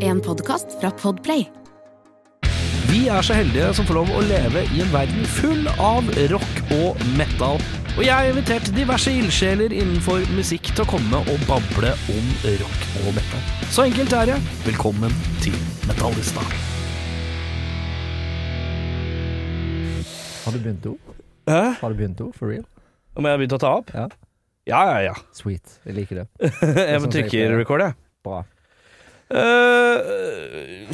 En podkast fra Podplay. Vi er så heldige som får lov å leve i en verden full av rock og metal. Og jeg har invitert diverse ildsjeler innenfor musikk til å komme og bable om rock og metal. Så enkelt er det. Velkommen til Metallista. Har du begynt å? Hæ? Har du begynt å? For real? Om jeg har begynt å ta opp? Ja. Ja, ja, ja. Sweet. Jeg liker det. Jeg sånn trykker safe, ja. record, jeg. Bra. Eh,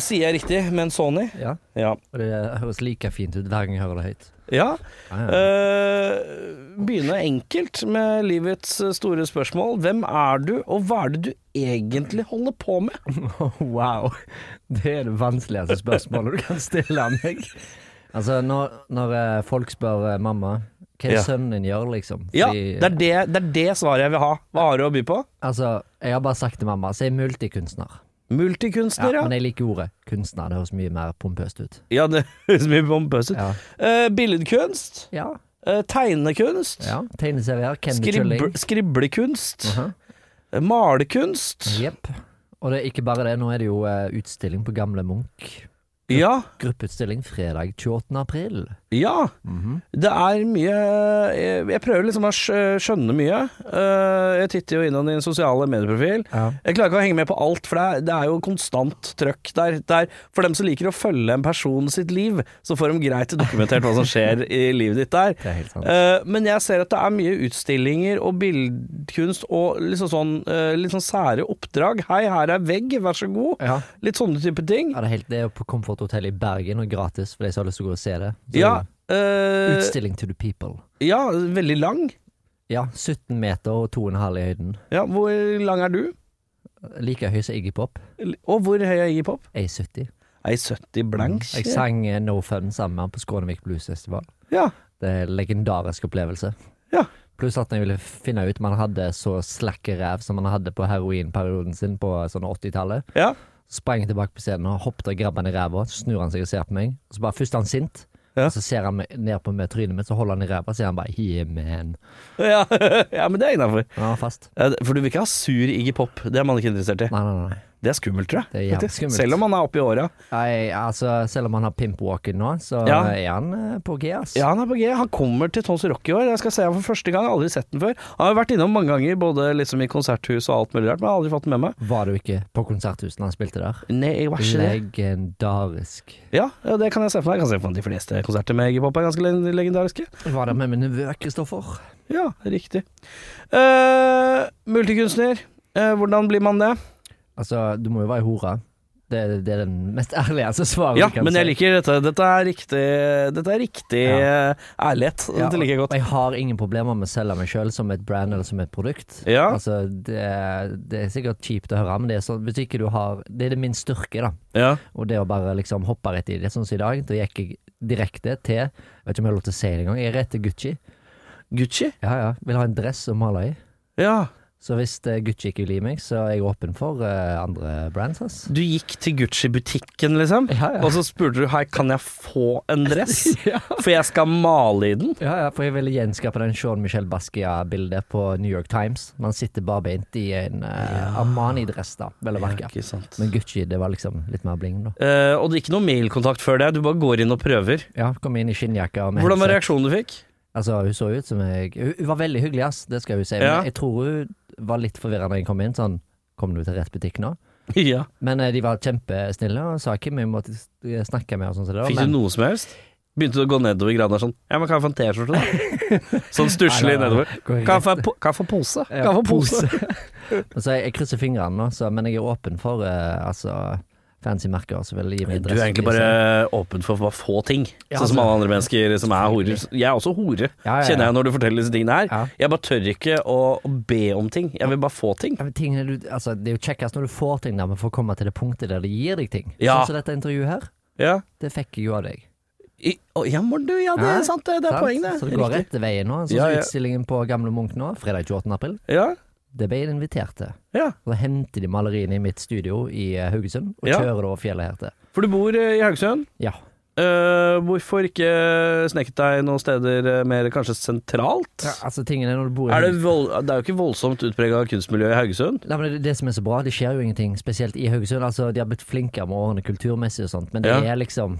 sier jeg riktig, men Sony? Ja. Ja. Og det høres like fint ut hver gang jeg hører det høyt. ja. Ja, ja. Eh, begynne enkelt med livets eh, store spørsmål. Hvem er du, og hva er det du egentlig holder på med? Wow. Det er det vanskeligste spørsmålet du kan stille meg. Altså, når, når eh, folk spør eh, mamma hva er Ja. sønnen din gjør, liksom Ja, Fordi- det er det, det er det svaret jeg vil ha. Hva har du å by på? Altså, jeg har bare sagt til mamma så jeg er multikunstner. Ja, Multikunstner, ja. Men jeg liker ordet kunstner. Det høres mye mer pompøst ut. Ja, det høres mye pompøst ut. Ja. Eh, billedkunst. ja. eh, tegnekunst. ja. Tegneserier. Candy Skrib Kylling. skriblekunst. Mhm. eh, Malekunst. Jepp. Og det er ikke bare det, nå er det jo eh, utstilling på Gamle Munch. Ja. Gruppeutstilling fredag 28. april. Ja. Mhm. Det er mye Jeg, jeg prøver liksom å skj- skjønne mye. Eh, jeg titter jo innom din sosiale medieprofil. Ja. Jeg klarer ikke å henge med på alt, for det er, det er jo konstant trøkk der. Det er, for dem som liker å følge en person sitt liv, så får de greit dokumentert hva som skjer i livet ditt der. Det er helt sant. Eh, men jeg ser at det er mye utstillinger og billedkunst og liksom sånn, eh, litt sånn sære oppdrag. Hei, her er vegg, vær så god. Ja. Litt sånne type ting. Ja, det, er helt, det er jo på Comfort Hotel i Bergen og gratis for de som har lyst til å gå og se det. Så Ja, det er jo eh, Utstilling to the people. ja, veldig lang. Ja, 17 meter og 2,5 i høyden. Ja, hvor lang er du? Like høy som Iggy Pop. Og hvor høy er Iggy Pop? A70. Ei 70 blank. Jeg sang eh, No Fun sammen med han på Skånevik Blues Festival. Ja. Det er en legendarisk opplevelse. Ja. Pluss at jeg ville finne ut man hadde så slakke ræv som man hadde på heroinperioden sin på sånn 80-tallet. ja. Sprang jeg tilbake på scenen og hoppet og grabbet han i ræva. Så snur han seg og ser på meg. Så bare Først er han sint, Ja. og så ser han meg- ned på meg, trynet mitt, så holder han i ræva, så sier han bare yeah, man. Ja. ja, men det er innafor. Han var fast. For du vil ikke ha sur Iggy Pop. Det er man ikke interessert i. Nei, nei, nei. Det er skummelt, tror jeg. Det er jævlig faktisk. skummelt. Selv om han er oppe i åra. Nei, altså, selv om han har pimpwalken nå, så Ja. er han eh, på G, ass. Ja, han er på G. Han kommer til Tons Rock i år. Jeg skal se ham for første gang. Jeg har aldri sett den før. Han har vært innom mange ganger, både liksom i konserthus og alt mulig rart, men jeg har aldri fått den med meg. Var du ikke på konserthuset når han spilte der? Nei, jeg var ikke det. Legendarisk. Ja, ja, det kan jeg se for meg. Jeg kan se for meg de fleste konserter med Iggy Pop er ganske le- legendariske. Jeg var der med min nevø Kristoffer. Ja, riktig. Eh, multikunstner. Eh, hvordan blir man det? Altså, du må jo være hore. Det, det er den mest ærlige altså, svaret Ja, du kan men jeg si. liker dette. Dette er riktig, dette er riktig eh, ærlighet. Ja, Dette liker jeg og godt. Jeg har ingen problemer med å selge meg sjøl som et brand eller som et produkt. Ja. Altså, det, det er sikkert kjipt å høre, men det er, sånn, hvis ikke du har, det er det min styrke, da. Ja. Og det å bare liksom hoppe rett i det, sånn som i dag. Da gikk jeg direkte til Jeg vet ikke om jeg har lov til å si det engang. Jeg er rett til Gucci. Gucci? Ja, ja. Vil ha en dress å male i. Ja. Så hvis eh, Gucci ikke vil gi meg, så er jeg åpen for eh, andre brands, ass. Du gikk til Gucci-butikken, liksom, Ja, ja. og så spurte du her, kan jeg få en dress? For jeg skal male i den. Ja, ja, for jeg ville gjenskape den Jean-Michel Basquiat-bildet på New York Times. Man sitter barbeint i en eh, Armani-dress, da, vel å merke. Ikke sant. Men Gucci, det var liksom litt mer bling, da. Eh, og det er ikke noe mailkontakt før det, du bare går inn og prøver. Ja, kom inn i skinnjakka og med Hvordan var headset. reaksjonen du fikk? Altså, hun så ut som jeg Hun hun var veldig hyggelig, ass, det skal hun si. Ja. Men jeg tror hun var litt forvirra da jeg kom inn, sånn Kom du til rett butikk nå? Ja. Men eh, de var kjempesnille og sa ikke mye om at de snakka med og sånn som det. da, Fikk men- du noe som helst? Begynte du å gå nedover i gradene sånn Ja, men kan jeg få en T-skjorte, da? Sånn stusslig Nei, nei, nei. nedover. Kan Går jeg rett- få en po- kan jeg få pose? Kan Ja, jeg få pose? Og så jeg, jeg krysser fingrene nå, så, men jeg er åpen for eh, altså, fancy merker som vil gi meg liksom. Du dress. er egentlig bare åpen for bare få ting, Ja, sånn som altså. alle andre mennesker som er horer. Jeg er også hore, Ja, ja, ja. kjenner jeg når du forteller disse tingene her. Ja. Jeg bare tør ikke å å be om ting, jeg vil bare få ting. Ja, men tingene du, altså, det er jo kjekkest når du får ting, der, men for å komme til det punktet der det gir deg ting. Ja. Sånn som dette intervjuet her. Ja, Det fikk jeg jo av deg. I, å, ja men du, ja det Ja, er sant, det, det er sant? poeng, det. Så det går Riktig. rett veien nå. Sånn Ja, som ja. utstillingen på Gamle Munch nå, fredag 28. april. Ja, Det ble jeg invitert til. ja. Så henter de maleriene i mitt studio i eh, Haugesund, og Ja. kjører det over fjellet her til. For du bor eh, i Haugesund? Ja. Eh, hvorfor ikke sneket deg noen steder eh, mer kanskje sentralt? Ja, altså, tingen er når du bor i Er det, vold, det er jo ikke voldsomt utprega kunstmiljø i Haugesund. Nei, men det, det som er så bra, det skjer jo ingenting, spesielt i Haugesund. Altså, de har blitt flinkere med årene kulturmessig og sånt, men det Ja. er liksom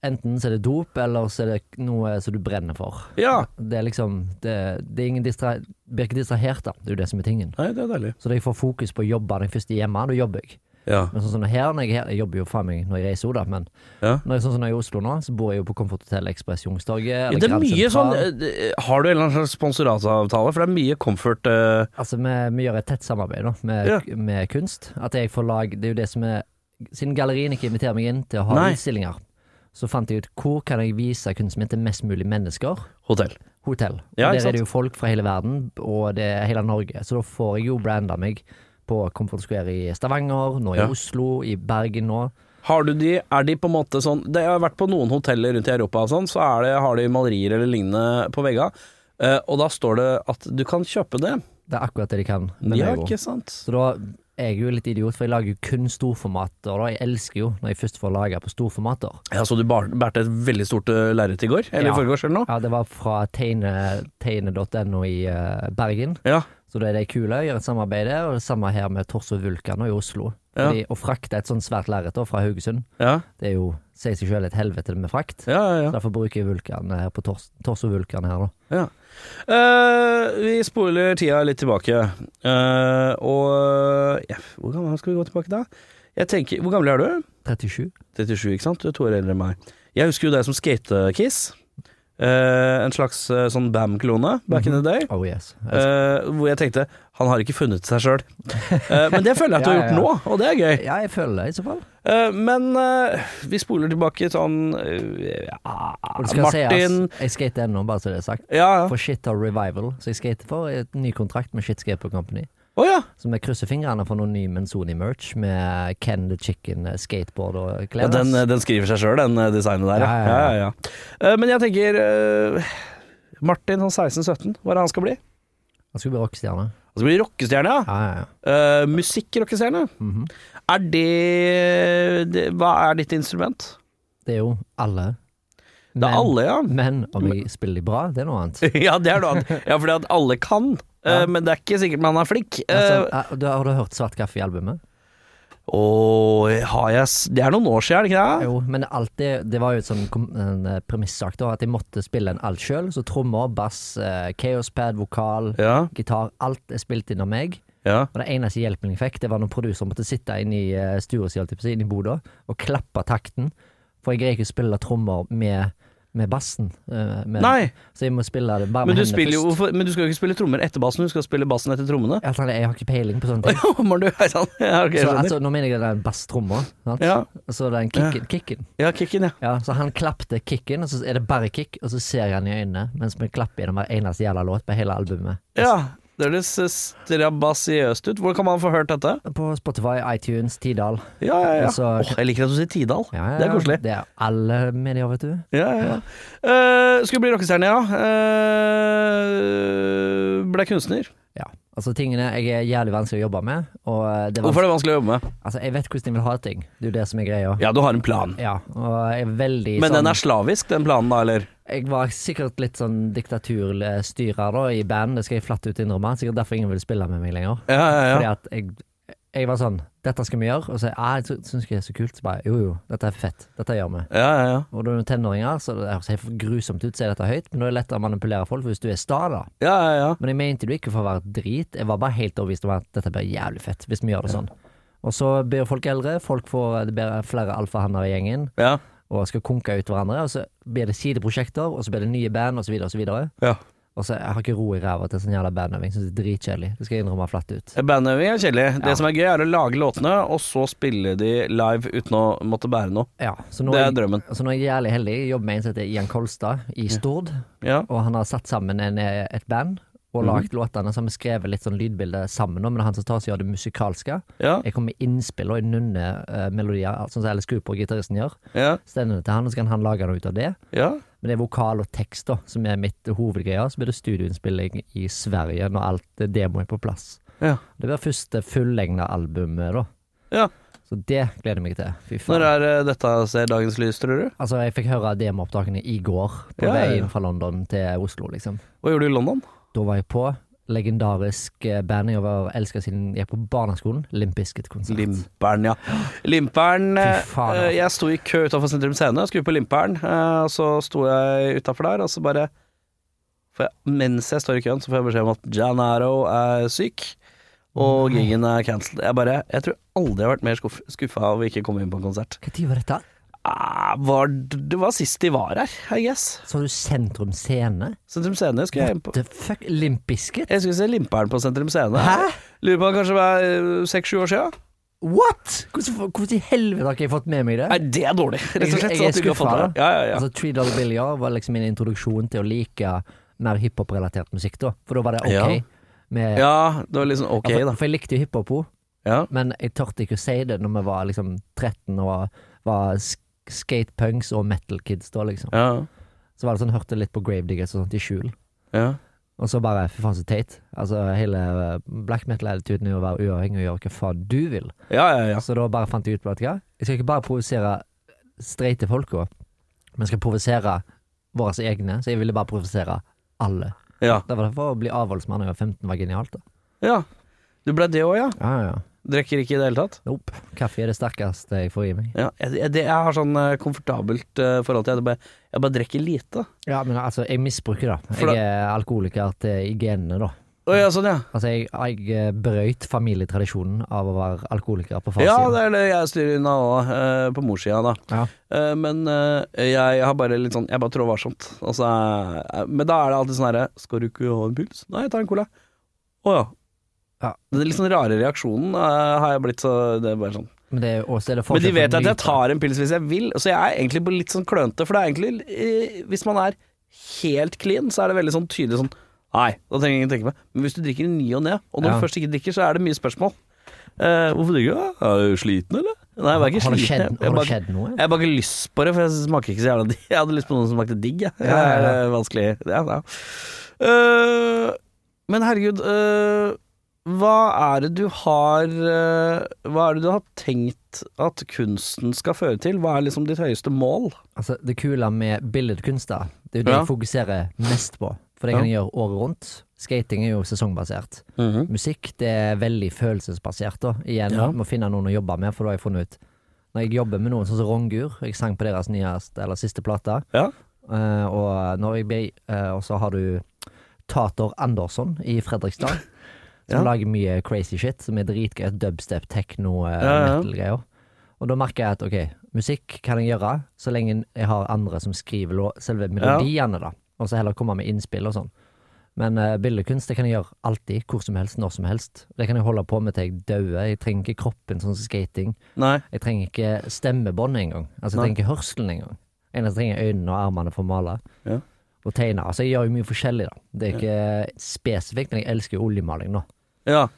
Enten så er det dop, eller så er det noe som du brenner for. Ja. Det er liksom Det, det er ingen distra... Blir ikke distrahert, da. Det er jo det som er tingen. Nei, det er deilig. Så da jeg får fokus på å jobbe den første hjemme, da jobber jeg. Ja. Men sånn som her, når jeg, er her, jeg jobber jo faen meg når jeg reiser, da, men Ja. når jeg, sånn som når jeg er i Oslo nå, så bor jeg jo på Comfort Hotel Ekspress Youngstorget. eller Det er Grand mye sånn Sentral. eh, Har du en eller annen slags sponsoratavtale? For det er mye comfort eh, Altså, vi, vi gjør et tett samarbeid da, med, Ja. med kunst. At jeg får lag Det er jo det som er Siden gallerien ikke inviterer meg inn til å ha Nei. utstillinger, så fant jeg ut hvor kan jeg vise kunsten min til mest mulig mennesker. hotell. Hotell. Og Ja, ikke der sant? er det jo folk fra hele verden, og det er hele Norge. Så da får jeg jo branda meg på Comfort Square i Stavanger, nå i Ja. Oslo, i Bergen nå. Har du de, er de på en måte sånn det, Jeg har vært på noen hoteller rundt i Europa og sånn, så er det, har de malerier eller lignende på veggene. eh, og da står det at du kan kjøpe det. Det er akkurat det de kan. med Ja, Lego. ikke sant? Så da er jeg jo litt idiot, for jeg lager jo kun storformater. Og da jeg elsker jo når jeg først får lage på storformater. Ja, Så du bar- bærte et veldig stort eh, lerret i går? Eller Ja. i forgårs, eller noe? Ja, det var fra tegne- tegne.no i eh, Bergen. Ja. Så da er det kule, gjør et samarbeid der, og det samme her med Torso Vulkan og i Oslo. Ja. Fordi, å frakte et sånt svært lerret da fra Haugesund, Ja, det er jo, sier seg selv, et helvete med frakt. ja, ja. ja. Så Derfor bruker jeg Vulkan her på tors Torso Vulkan her da. Ja. Eh, vi spoler tida litt tilbake. Eh, og ja, Hvor gammel skal vi gå tilbake da? Jeg tenker, Hvor gammel er du? 37. 37, ikke sant? Du er to år eldre enn meg. Jeg husker jo deg som skatekiss. Eh, en slags eh, sånn BAM-klone back in the day. Oh yes. Eh, hvor jeg tenkte han har ikke funnet seg sjøl. men det føler jeg at du har Ja, ja, gjort nå, og det er gøy. Ja, jeg føler det i så fall. Eh, men eh, vi spoler tilbake sånn eh, ja, Og det skal Martin sies, jeg skater ennå, bare så det er sagt. Ja, ja. For Shit har Revival, så jeg skater for et ny kontrakt med Shit Skateboard Company. Å ja. Så vi krysser fingrene for noen ny Menzoni-merch med Ken the Chicken eh, skateboard og klær. Ja, den, ass. den skriver seg sjøl, den eh, designet der. Ja, Ja, ja, ja, ja. Eh, Men jeg tenker eh, Martin, han 16-17, hva er det han skal bli? Han skulle bli rockestjerne. Han skal bli rockestjerne, ja. Ja, ja, ja. Uh, Musikkrockestjerne. Er det, det Hva er ditt instrument? Det er jo alle. Det er alle, Eh, ja. Men om jeg spiller de bra, det er noe annet. ja, det er noe annet. Ja, fordi at alle kan. eh, Ja. Men det er ikke sikkert man er flink. Eh, Altså, eh, du, har du hørt Svart kaffe i albumet? Åh, har jeg s- Det er noen år siden, er det ikke det? Jo, men alltid, det var jo et sånn kom- en eh, premissak da, at jeg måtte spille en alt sjøl. Så trommer, bass, eh, chaospad, vokal, Ja, gitar. Alt er spilt inn av meg. ja. Og det eneste hjelpen jeg fikk, det var når produseren måtte sitte inne i eh, sturet sitt, holdt jeg på å si, inne i boda, og klappe takten. For jeg greier ikke å spille trommer med, med bassen. eh, Med, Nei, Så jeg må spille det bare men med du, hendene spiller jo, først. hvorfor- men du skal jo ikke spille trommer etter bassen, du skal spille bassen etter trommene. Jeg, jeg har ikke peiling på sånne ting. Ja, men du, sånn. ja, ok, jeg Så, skjønner. altså, nå mener jeg den basstromma. sant? Ja. Så den kicken. kicken. Ja, kicken, ja. Ja, så han klappte kicken, og så er det bare kick, og så ser jeg han i øynene mens vi klapper gjennom hver eneste jævla låt på hele albumet. Ja, det høres eh, strabasiøst ut. Hvor kan man få hørt dette? På Spotify, iTunes, Tidal. Ja, ja, ja. Altså- Åh, jeg liker at du sier Tidal. Ja, ja, Det er koselig. Det er alle medier, vet du. Ja, ja, ja. Eh, skulle bli rockestjerne, ja. Eh, ble kunstner. Ja. Altså, tingene jeg er jævlig vanskelig å jobbe med, og eh, det er Hvorfor er vanskelig det vanskelig å jobbe med? Altså, jeg vet hvordan jeg vil ha ting. Det er jo det som er greia. Ja, du har en plan. Ja, og jeg er veldig Men sånn den er slavisk, den planen da, eller? Jeg var sikkert litt sånn diktaturstyrer da, i band, det skal jeg flatt ut innrømme. Sikkert derfor ingen vil spille med meg lenger. Ja, ja, Fordi ja. at jeg, jeg var sånn Dette skal vi gjøre. Og så ah, jeg sy- syns ikke det er så kult. Så bare jo, jo, dette er fett. Dette gjør vi. Ja, ja, ja. Og da er du tenåringer, så det høres helt grusomt ut, så er dette høyt, men da er det lettere å manipulere folk hvis du er sta, da. ja, ja, ja. Men jeg mente det ikke for å være drit, jeg var bare helt overbevist om at dette blir jævlig fett hvis vi gjør det sånn. Og så blir folk eldre, folk får det blir flere alfahanner i gjengen, ja. og skal konke ut hverandre, og så blir det sideprosjekter, og så blir det nye band, og så videre, og så videre. ja. Og så jeg har ikke ro i ræva til en sånn jævla bandøving, synes det er dritkjedelig. Det skal jeg innrømme flatt ut. Bandøving er kjedelig. Ja. Det som er gøy, er å lage låtene, og så spille de live uten å måtte bære noe. Ja, så nå, Det er jeg- drømmen. Så nå er jeg jævlig heldig, jeg jobber med en som heter Ian Kolstad i Stord, Ja. og han har satt sammen en, eh, et band, og Mhm. lagt låtene, så har vi skrevet litt sånn lydbilde sammen, nå, men det er han som tar seg av det musikalske. Ja. Jeg kommer med innspill og nunnemelodier, uh, sånn som Alice Cooper og gitaristen gjør. Ja. Stendende til han, og så kan han lage noe ut av det. Ja. Men det er vokal og tekst da, som er mitt hovedgreie. Så blir det studioinnspilling i Sverige når alt eh, demoen er på plass. ja. Det blir første fullengda albumet, da. Ja. Så det gleder jeg meg til. Fy Når faen. er det dette ser dagens lys, tror du? Altså, jeg fikk høre demoopptakene i går, på Ja, ja, ja. veien fra London til Oslo, liksom. Hva gjorde du i London? Da var jeg på legendarisk eh, band jeg har elska siden jeg gikk på barneskolen, Limp Bizkit-konsert. Limpern, ja. Limpern Fy eh, faen, altså. Jeg sto i kø utenfor Sentrum Scene, skulle på Limpern. eh, og Så sto jeg utafor der, og så bare får jeg, Mens jeg står i køen, så får jeg beskjed om at Janaro er syk, og gigen er cancelled. Jeg bare Jeg tror aldri jeg har vært mer skuff, skuffa av å ikke komme inn på en konsert. Når var dette? Ah, var, det var sist de var her, I guess. Så du Sentrum Scene? Sentrum Scene skulle jeg inn på. The fuck, Limp Bizkit? Jeg skulle se Limpern på Sentrum Scene. Hæ? Lurer på om det kanskje var seks-sju år siden. What?! Hvordan, hvordan i helvete har ikke jeg fått med meg det? Nei, det er dårlig, rett og slett. så Jeg- jeg er at du ikke har fått skuffa, det. Ja, ja, ja. Altså, Three Dollar Bill ja, var liksom min introduksjon til å like mer hiphop-relatert musikk, da. For da var det ok. Ja. Med, Ja, det var liksom ok, Ja, for, da. For jeg likte jo hiphop òg, Ja. men jeg tørte ikke å si det når vi var liksom 13 og var, var sk- skatepunks og metal kids da, liksom. Ja. Så var det sånn, hørte litt på Gravediggers og sånt i skjul. ja. Og så bare fy faen så teit. Altså hele eh, black metal-attituden er å være uavhengig og gjøre hva faen du vil. Ja, ja, ja. Så da bare fant jeg ut på at ja, jeg skal ikke bare provosere streite folk også, men jeg skal provosere våre egne. Så jeg ville bare provosere alle. ja. Det var derfor å bli avholdsmann da jeg var 15 var genialt. da. ja. Du ble det òg, ja? Ja, ja, ja. Drikker ikke i det hele tatt? Nope. Kaffe er det sterkeste jeg får i meg. Ja, jeg, jeg, det- jeg har sånn eh, komfortabelt eh, forhold til det. Jeg bare, jeg bare drikker lite. Ja, men altså, jeg misbruker det. For da- Jeg er alkoholiker til i genene, da. Å ja, sånn, ja. Altså, jeg, jeg eh, brøyt familietradisjonen av å være alkoholiker på Ja, farssiden. det er det jeg styrer unna òg, på morssida, da. Ja. Eh, Men eh, jeg, jeg har bare litt sånn Jeg bare trår varsomt. Altså, eh, men da er det alltid sånn herre Skal du ikke ha en pils? Nei, jeg tar en cola. Å ja. Ja. Den litt sånn rare reaksjonen eh, har jeg blitt så Det er bare sånn Men, det er også, Men de er det forskjell vet på at jeg nyte- tar en pils hvis jeg vil, så jeg er egentlig på litt sånn klønete. For det er egentlig eh, Hvis man er helt clean, så er det veldig sånn tydelig sånn Nei, da trenger jeg ingen tenke meg. Men hvis du drikker i ny og ne, og når Ja. du først ikke drikker, så er det mye spørsmål. Eh, hvorfor drikker du? da? Er du sliten, eller? Nei, jeg var ikke Har det sliten. skjedd, jeg- jeg har bare- det skjedd noe? jeg har bare ikke lyst på det, for jeg smaker ikke så jævla digg. Jeg hadde lyst på noe som smakte digg. Jeg. Det ja, er ja. eh, vanskelig. Ja, ja. Eh, men herregud, eh, hva er det du har eh, Hva er det du har tenkt at kunsten skal føre til? Hva er liksom ditt høyeste mål? Altså, det kule med billedkunst, da, det er jo det Ja. jeg fokuserer mest på. For det kan jeg gjøre året rundt. Skating er jo sesongbasert. Musikk det er veldig følelsesbasert. da Igjen, Ja. Må finne noen å jobbe med, for da har jeg funnet ut Når jeg jobber med noen sånn som Rongur, jeg sang på deres nyeste eller siste plate, Ja. eh, og når jeg ble eh, Og så har du Tater Andersson i Fredrikstad, som Ja. lager mye crazy shit, som er dritgøy. Dubstep, techno, eh, Ja, ja. metal-greier. Og da merker jeg at ok, musikk kan jeg gjøre så lenge jeg har andre som skriver lå- selve melodiene, da. Og så heller komme med innspill og sånn. Men eh, billedkunst det kan jeg gjøre alltid, hvor som helst, når som helst. Det kan jeg holde på med til jeg dauer. Jeg trenger ikke kroppen sånn som skating. Nei. Jeg trenger ikke stemmebånd engang. Altså, jeg Nei. trenger ikke hørselen engang. Eneste trenger jeg øynene og armene for å male. Ja. Og tegne. Altså, jeg gjør jo mye forskjellig, da. Det er ikke spesifikt, men jeg elsker jo oljemaling nå. Ja.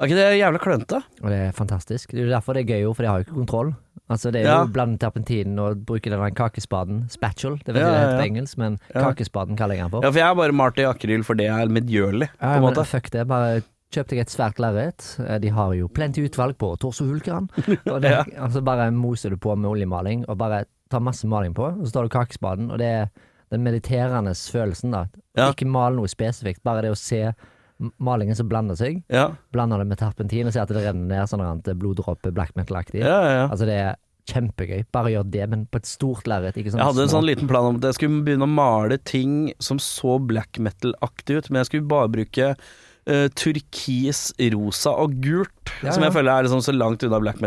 Er ikke det jævla klønete? Og det er fantastisk. Det er jo derfor det er gøy, jo, for jeg har jo ikke kontroll. Altså, det er Ja. jo blande terpentinen og bruke denne kakespaden. Spatchel, det vet Ja, jeg ja, det heter ja. på engelsk, men Ja. kakespaden kaller jeg den for. Ja, for jeg har bare malt i akryl, for det er medgjørlig, på en men måte. Fuck det, bare kjøp deg et svært lerret. Eh, De har jo plenty utvalg på Torso Vulkan. Og det, altså bare moser du på med oljemaling, og bare tar masse maling på, og så tar du kakespaden, og det er den mediterende følelsen, da. Ja. Ikke mal noe spesifikt, bare det å se m- malingen som blander seg. Ja, Blander det med terpentin og ser at det renner ned sånn rent bloddråpe, black metal-aktig. ja, ja. ja. Altså, det er kjempegøy. Bare gjør det, men på et stort lerret. Ikke sånn Jeg hadde en små- sånn liten plan om at jeg skulle begynne å male ting som så black metal-aktig ut, men jeg skulle bare bruke eh, turkis, rosa og gult, Ja, som jeg ja. føler er liksom så langt unna black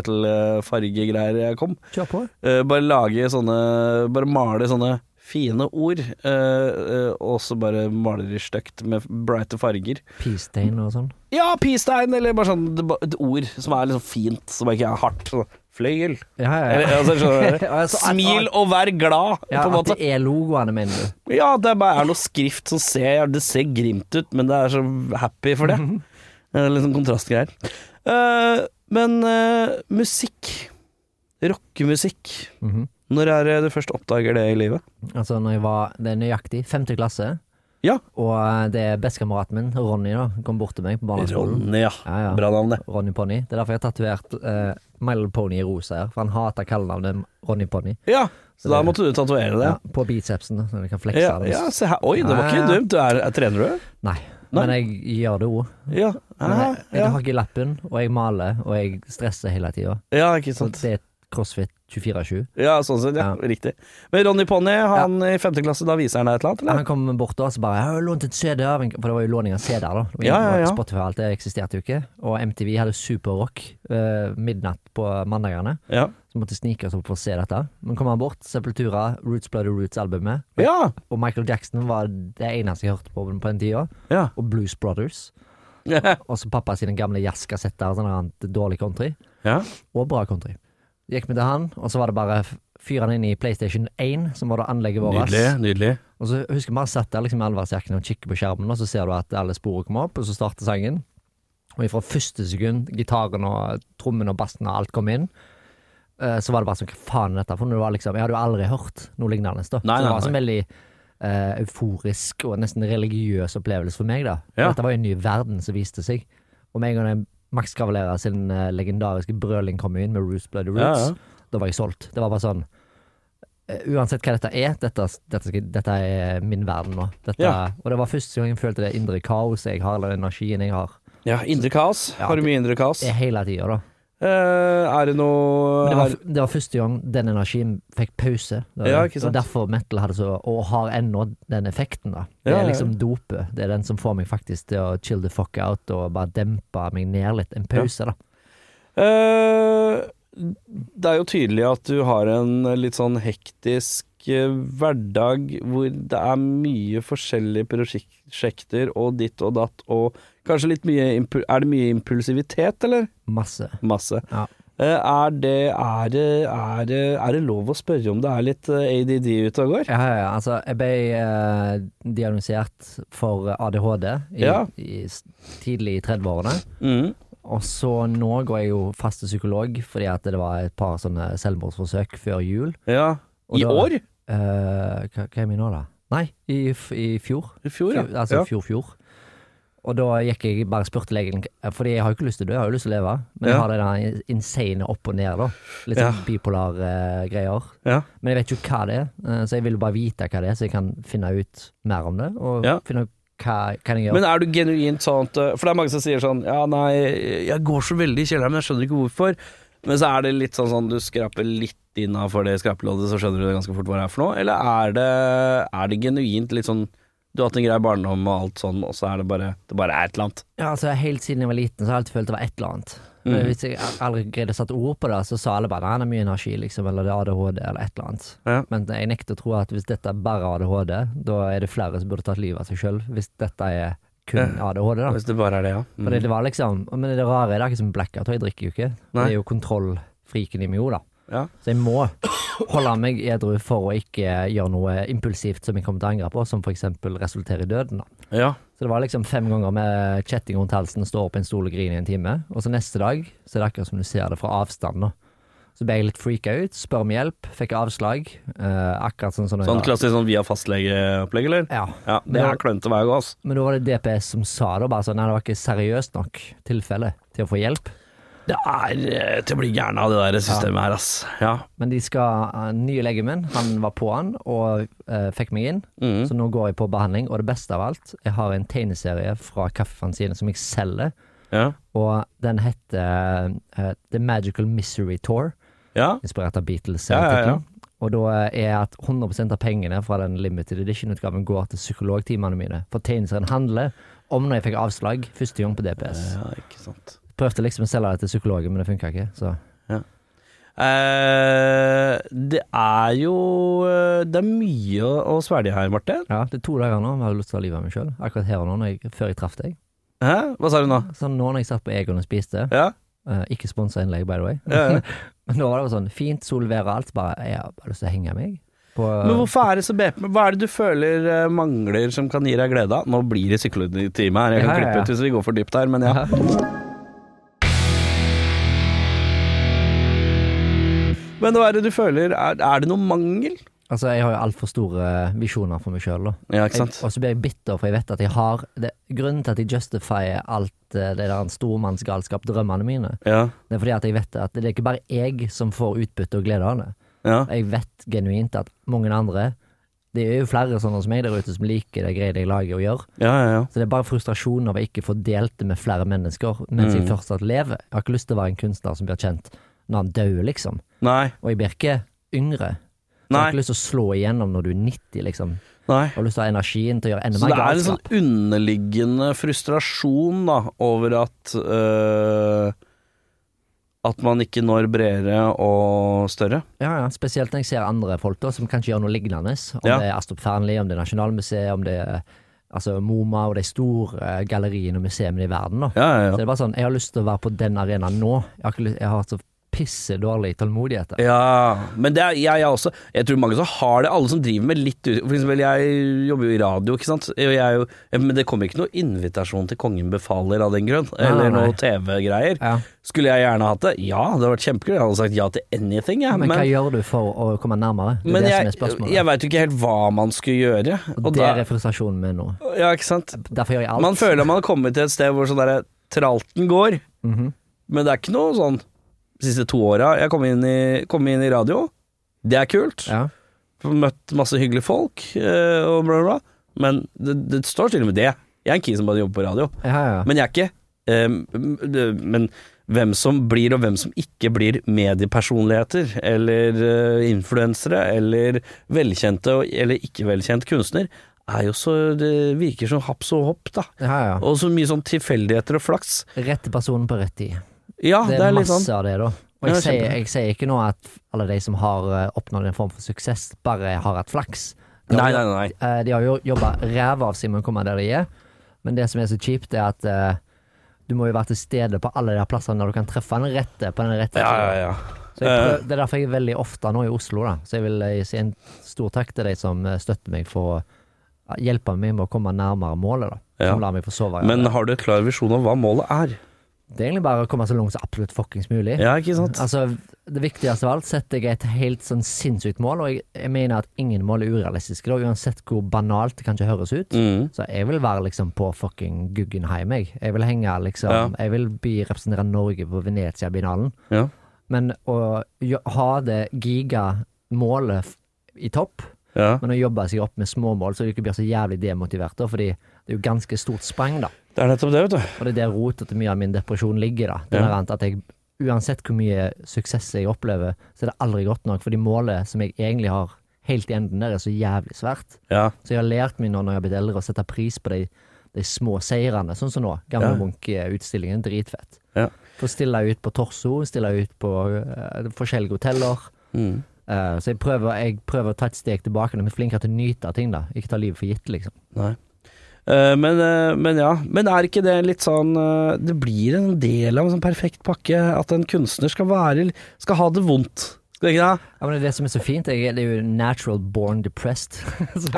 metal-fargegreier jeg kom. Kjør på. Eh, bare lage sånne Bare male sånne fine ord, eh, eh, og så bare maler de stygt med brighte farger. Peastein og sånn. Ja, pistein, eller bare sånn det ba- et ord som er liksom fint, som ikke er hardt. Sånn, fløyel. Ja, ja, Eller, ja. altså, skjønner du? Ja, så at- Smil og vær glad, Ja, på en at måte. det er logoene, mener du. Ja, det bare er noe skrift som ser Det ser grimt ut, men det er så happy for det. Det er Litt sånn kontrastgreier. Eh, men eh, musikk. Rockemusikk. Mhm. Når er det du først oppdager det i livet? Altså når jeg var, det er nøyaktig, femte klasse Ja. Og eh, det er bestekameraten min, Ronny, da, kom bort til meg på Ah, barneskolen. Ronny, ja. Ja, ja. Bra navn, det. Ronny Pony. Det er derfor jeg har tatovert eh, My Little Pony i rosa her, for han hater kallenavnet Ronny Pony. Ja, så da måtte du tatovere det. Ja, på bicepsen, da, så jeg kan flekse Ja, den. ja, se her. Oi, det var Ja, ikke ja. dumt. Du er, er trener du? Nei, Nei. men jeg gjør det òg. Ja. Men jeg, Hæ? jeg ja. har ikke lappen, og jeg maler, og jeg stresser hele tida. ja, ikke Så sant. det er crossfit 24-7. Ja, sånn sett, ja. Ja. Riktig. Men Ronny Ponny, han i femte klasse, da viser han deg et eller annet, eller? Han kom bort da og så bare 'Jeg har jo lånt en CD av en For det var jo låning av CD-er, da. Det var Ja, ja, ja. Spotify og alt det eksisterte jo ikke. Og MTV hadde superrock eh, midnatt på mandagene. Ja. Så måtte snike oss opp for å se dette. Men kom han bort, Sepultura, Roots Bloody Roots-albumet. Ja. Og Michael Jackson var det eneste jeg hørte på på den tida. ja. Og Blues Brothers. ja. Og så pappa sine gamle jazzkassetter og sånn annet dårlig country. ja. og bra country. Gikk vi til han, og så var det bare f- fyr han inn i PlayStation 1, som var da anlegget vårt. nydelig. Og så husker jeg bare satt der liksom, i allværsjakken og kikker på skjermen, og så ser du at alle sporene kommer opp, og så starter sangen. Og fra første sekund, gitaren og trommen og bassen og alt kom inn, eh, så var det bare sånn Hva faen er dette for noe? Det var Liksom, jeg hadde jo aldri hørt noe lignende. Nei, Da. så det nei, var sånn veldig eh, euforisk og nesten religiøs opplevelse for meg. da Ja. Dette var jo en ny verden som viste seg. Og med en gang Max Cavalera sin eh, legendariske brøling kom inn med Roots Bloody Roots, Ja, ja. da var jeg solgt. Det var bare sånn eh, Uansett hva dette er, dette, dette, skal- dette er min verden nå. Dette, Ja. Og det var første gang jeg følte det indre kaoset jeg har, eller energien jeg har. Ja, indre kaos. Ja, har du det- mye indre kaos? Det er hele tida, da. Eh, er det noe Men Det var, er- det var første gang den energien fikk pause. Det var- Ja, ikke sant. Og derfor metal hadde så Og har ennå den effekten, da. Ja, Det er ja, ja. liksom dopet. Det er den som får meg faktisk til å chill the fuck out og bare dempe meg ned litt. En pause, da. Eh, Det er jo tydelig at du har en litt sånn hektisk eh, hverdag hvor det er mye forskjellige prosjekter og ditt og datt og kanskje litt mye impu- Er det mye impulsivitet, eller? Masse. Masse. Ja. Eh, Er det, er, det, er, det, er det lov å spørre om det er litt eh, ADD ute og går? Ja, ja, ja. Altså, jeg ble eh, diagnosert for ADHD i, Ja. i s- tidlig i 30-årene. Mm. Og så nå går jeg jo fast til psykolog fordi at det var et par sånne selvmordsforsøk før jul. Ja. Og I da- år? Eh, hva, hva er vi nå, da? Nei, i, f i fjor. I fjor, ja. Fjor- Altså ja. fjor, fjor. Og da gikk jeg bare og spurte legen, eh, Fordi jeg har jo ikke lyst til å dø, jeg har jo lyst til å leve. Ja. Men jeg har det der insane opp og ned, da. Litt sånn Ja. bipolar eh, greier. Ja. Men jeg vet jo hva det er, eh, så jeg vil jo bare vite hva det er, så jeg kan finne ut mer om det. Og Ja. finne ut hva kan jeg gjøre. Men er du genuint sånn at For det er mange som sier sånn Ja, nei, jeg går så veldig i kjelleren, men jeg skjønner ikke hvorfor. Men så er det litt sånn sånn du skraper litt innafor det skrapeloddet, så skjønner du det ganske fort hva det er for noe. Eller er det, er det genuint litt sånn Du har hatt en grei barndom og alt sånn, og så er det bare Det bare er et eller annet. ja, altså, helt siden jeg var liten, så har jeg alltid følt det var et eller annet. Men Mhm. Hvis jeg aldri greide å sette ord på det, så sa alle bare "Nei, han har mye energi, liksom, eller det er ADHD, eller et eller annet. Ja. Men jeg nekter å tro at hvis dette er bare ADHD, da er det flere som burde tatt livet av seg sjøl, hvis dette er kun ADHD, da. Hvis det bare er det, ja. For det, det var liksom Men det rare er det er ikke som blackout, og jeg drikker jo ikke. Nei. Det er jo kontrollfriken i meg òg, da. Ja. Så jeg må holde meg edru for å ikke gjøre noe impulsivt som jeg kommer til å angre på, som f.eks. resulterer i døden. da. ja. Så det var liksom fem ganger med kjetting rundt halsen, stå opp i en stol og grine i en time. Og så neste dag så er det akkurat som du ser det fra avstand. da. Så ble jeg litt freaka ut, spør om hjelp, fikk avslag. eh, akkurat sånn som det Sånn var. klassisk sånn via fastlegeopplegg, eller? Ja. Ja, det er klønete hver gang, altså. Men da var det DPS som sa det, og bare sånn nei, det var ikke seriøst nok tilfelle til å få hjelp. Det er eh, til å bli gæren av det der systemet her, ass. Ja. Men de skal eh, Nye legen min, han var på han og eh, fikk meg inn. Mhm. Så nå går jeg på behandling, og det beste av alt, jeg har en tegneserie fra Kaffefanzine som jeg selger, Ja. og den heter eh, The Magical Misery Tour, ja. inspirert av Beatles. Ja, ja, ja. Og da eh, er at 100 av pengene fra den limited edition-utgaven går til psykologtimene mine, for tegneserien handler om når jeg fikk avslag første gang på DPS. Ja, ikke sant. Prøvde liksom å selge det til psykologen, men det funka ikke, så Eh, det er jo eh, Det er mye å- å svelge her, Martin. ja, det er to dager nå, men jeg har lyst til å ta livet av meg sjøl. Akkurat her og nå, når jeg, før jeg traff deg. Hæ? Hva sa du nå? Sånn nå når jeg satt på Egon og spiste Ja? eh, Ikke sponsa innlegg, by the way. Ja, ja. Men da var det jo sånn fint, sol, vær og alt. så Bare jeg har bare lyst til å henge meg. På, Men hvorfor er det så BP? Hva er det du føler eh, mangler som kan gi deg glede av? Nå blir det psykologitime her, jeg kan Ja, ja, ja. klippe ut hvis vi går for dypt her, men ja. Men hva er det du føler? Er, er det noe mangel? Altså, jeg har jo altfor store eh, visjoner for meg sjøl, da. Ja, ikke Jeg- sant? Og så blir jeg bitter, for jeg vet at jeg har det, Grunnen til at jeg justifier alt eh, det der stormannsgalskap, drømmene mine, Ja. det er fordi at jeg vet at det er ikke bare jeg som får utbytte og glede av det. ja. Jeg vet genuint at mange andre Det er jo flere sånne som meg der ute som liker de greiene jeg lager og gjør. Ja, ja, ja. Så det er bare frustrasjon over ikke å få delt det med flere mennesker mens jeg fortsatt lever. Jeg har ikke lyst til å være en kunstner som blir kjent når han dør, liksom. Nei. Og jeg blir ikke yngre. Så jeg har Nei. ikke lyst til å slå igjennom når du er 90, liksom. Nei. Jeg har lyst til å ha energien til å gjøre enda Så mer det er en galskap. sånn underliggende frustrasjon da, over at øh, At man ikke når bredere og større. Ja, ja. Spesielt når jeg ser andre folk da, som kanskje gjør noe lignende. Om Ja. det er Astrup Fearnley, om det er Nasjonalmuseet, om det er altså, MoMA og de store eh, galleriene og museene i verden. Da. Ja, ja, Så det er bare sånn, jeg har lyst til å være på den arenaen nå. Jeg har, ikke lyst, jeg har hatt så pisse dårlig tålmodighet. ja. Men det er jeg, jeg også. Jeg tror mange som har det. Alle som driver med litt ut- For eksempel, jeg jobber jo i radio, ikke sant. Jeg er jo, men det kommer ikke noe invitasjon til Kongen befaler av den grunn. Eller nei. noe TV-greier. Ja. Skulle jeg gjerne hatt det? Ja, det hadde vært kjempegøy. Jeg hadde sagt ja til anything, jeg. Men, hva gjør du for å komme nærmere? Det er men det som er jeg, spørsmålet. jeg veit jo ikke helt hva man skulle gjøre. og Og der da, er frustrasjonen min nå. ja, ikke sant? Derfor gjør jeg alt. Man føler man har kommet til et sted hvor sånn derre tralten går, Mhm. men det er ikke noe sånn de siste to åra. Jeg kom inn, i, kom inn i radio, det er kult. ja. Møtt masse hyggelige folk eh, og bla, bla, bla. Men det, det står stille med det. Jeg er en kis som bare jobber på radio. Ja, ja, ja. Men jeg er ikke eh, m- det- Men hvem som blir og hvem som ikke blir mediepersonligheter, eller eh, influensere, eller velkjente og- eller ikke velkjent kunstner, er jo så Det virker som haps og hopp, da. ja, ja. Og så mye sånn tilfeldigheter og flaks. Rett person på rett tid. Ja, det er, litt masse sånn. av det, da. Og Ja, jeg, sier, kjempe. jeg sier ikke nå at alle de som har eh, oppnådd en form for suksess, bare har hatt flaks. De Nei, har, nei, nei. eh, De har jo jobba ræva av seg med å komme der de er, men det som er så kjipt, er at eh, du må jo være til stede på alle de her plassene der du kan treffe den rette på den rette Ja, tiden. ja, Eh. ja. Så jeg prøv, det er derfor jeg er veldig ofte nå i Oslo, da. Så jeg vil eh, si en stor takk til de som eh, støtter meg for å ja, hjelpe meg med å komme nærmere målet, da. Ja. Som lar meg få sove. Men har du et klar visjon om hva målet er? det er egentlig bare å komme så langt som absolutt fuckings mulig. Ja, ikke sant? Altså, det viktigste av alt setter jeg et helt sånn sinnssykt mål, og jeg, jeg mener at ingen mål er urealistiske, da, uansett hvor banalt det kanskje høres ut. Mm. Så jeg vil være liksom på fucking Guggenheim, jeg. Jeg vil henge liksom Ja. Jeg vil bli representere Norge på Venezia-binalen. Ja. Men å jo- ha det gigamålet f- i topp, ja. men å jobbe seg opp med småmål, så du ikke blir så jævlig demotivert, da, fordi det er jo ganske stort sprang, da. Det er nettopp det, vet du. Og det er der rotet til mye av min depresjon ligger, da. Det Ja. der annet at jeg, uansett hvor mye suksess jeg opplever, så er det aldri godt nok, fordi målet som jeg egentlig har helt i enden der, er så jævlig svært. Ja. Så jeg har lært meg nå når jeg har blitt eldre, å sette pris på de, de små seirene, sånn som nå. Gamle Ja. Munch-utstillingen, dritfett. Ja. Få stille ut på Torso, stille ut på eh, forskjellige hoteller. Mm. Eh, så jeg prøver, jeg prøver å ta et steg tilbake, men jeg er flinkere til å nyte av ting, da. Ikke ta livet for gitt, liksom. Nei. Eh, men, eh, men ja. Men er ikke det litt sånn eh, Det blir en del av en sånn perfekt pakke at en kunstner skal være Skal ha det vondt. Skal ikke det? Ja, men det er det som er så fint. Jeg, er- det er jo natural born depressed. så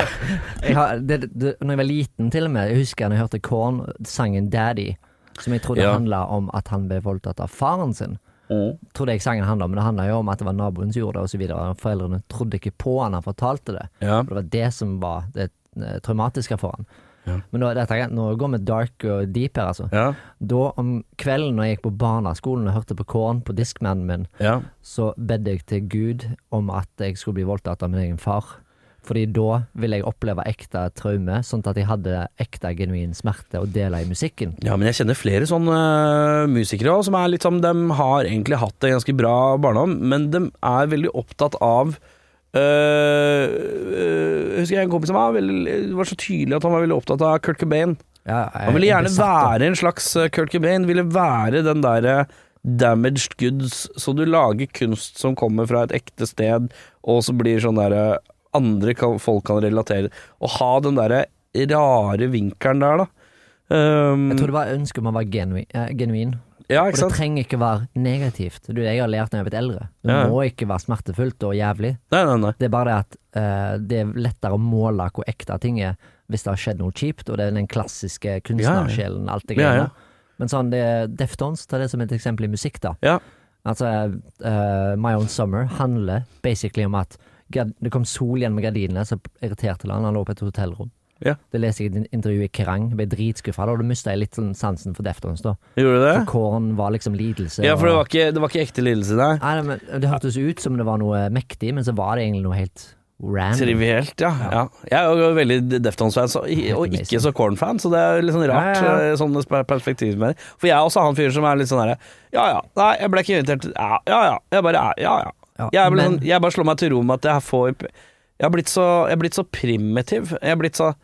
jeg har, det, det, når jeg var liten, til og med, jeg husker jeg hørte Korn sangen 'Daddy', som jeg trodde Ja. handla om at han ble voldtatt av faren sin. Mm. Trodde jeg sangen handla om, men det handla jo om at det var naboen som gjorde det, og så videre. Og Foreldrene trodde ikke på han, han fortalte det. Ja. Og det var det som var det eh, traumatiske for han. Men nå, dette, nå går vi dark og deep her, altså. Ja. Da om kvelden når jeg gikk på barneskolen og hørte på Korn på diskmannen min, Ja. så bedde jeg til Gud om at jeg skulle bli voldtatt av min egen far. Fordi da ville jeg oppleve ekte traume, sånn at jeg hadde ekte, genuin smerte å dele i musikken. ja, men jeg kjenner flere sånne eh, musikere også, som er litt sånn De har egentlig hatt det ganske bra barndom, men de er veldig opptatt av eh, eh, husker jeg en kompis som var, veldig, det var så tydelig at han var veldig opptatt av Kurt Cobain. Ja, jeg- Han ville gjerne jeg ble satt opp. være en slags eh, Kurt Cobain. Ville være den derre damaged goods, så du lager kunst som kommer fra et ekte sted, og så blir sånn derre andre kan, folk kan relatere Å ha den derre rare vinkelen der, da. Um, Jeg tror det var ønsket om å være genui- eh, genuin. ja, ikke Og det sant? trenger ikke være negativt. Du, jeg har lært når jeg har blitt eldre. Det Ja. må ikke være smertefullt og jævlig. Nei, nei, nei. Det er bare det at eh, det er lettere å måle hvor ekte ting er hvis det har skjedd noe kjipt, og det er den klassiske kunstnersjelen, alt det Ja, greiene. ja. Men sånn, det er Deftones, ta det som et eksempel i musikk, da. Ja, Altså, eh, My Own Summer handler basically om at gard- det kom sol gjennom gardinene, så irriterte han. Han lå på et hotellrom. Ja. Det leste jeg i et intervju i Kerrang. Ble dritskuffa. Da og da mista jeg litt sånn sansen for Deftones, da. Gjorde du det? For Kåren var liksom lidelse. Ja, for det og- var ikke, det var ikke ekte lidelse der. Nei, nei, men Det hørtes ut som det var noe mektig, men så var det egentlig noe helt random. Trivielt, ja. ja. Jeg er jo veldig Deftones-fan, så- og amazing. ikke så Korn-fan, så det er litt sånn rart, Ja, ja, eh, sånn per- perspektiv med det. For jeg er også han fyren som er litt sånn herre Ja ja, nei, jeg ble ikke invitert. Ja ja, ja. jeg bare er Ja ja. Ja, Jeg, er vel men- sånn, jeg bare slår meg til ro med at jeg får Jeg har blitt så, jeg har blitt så primitiv. Jeg har blitt så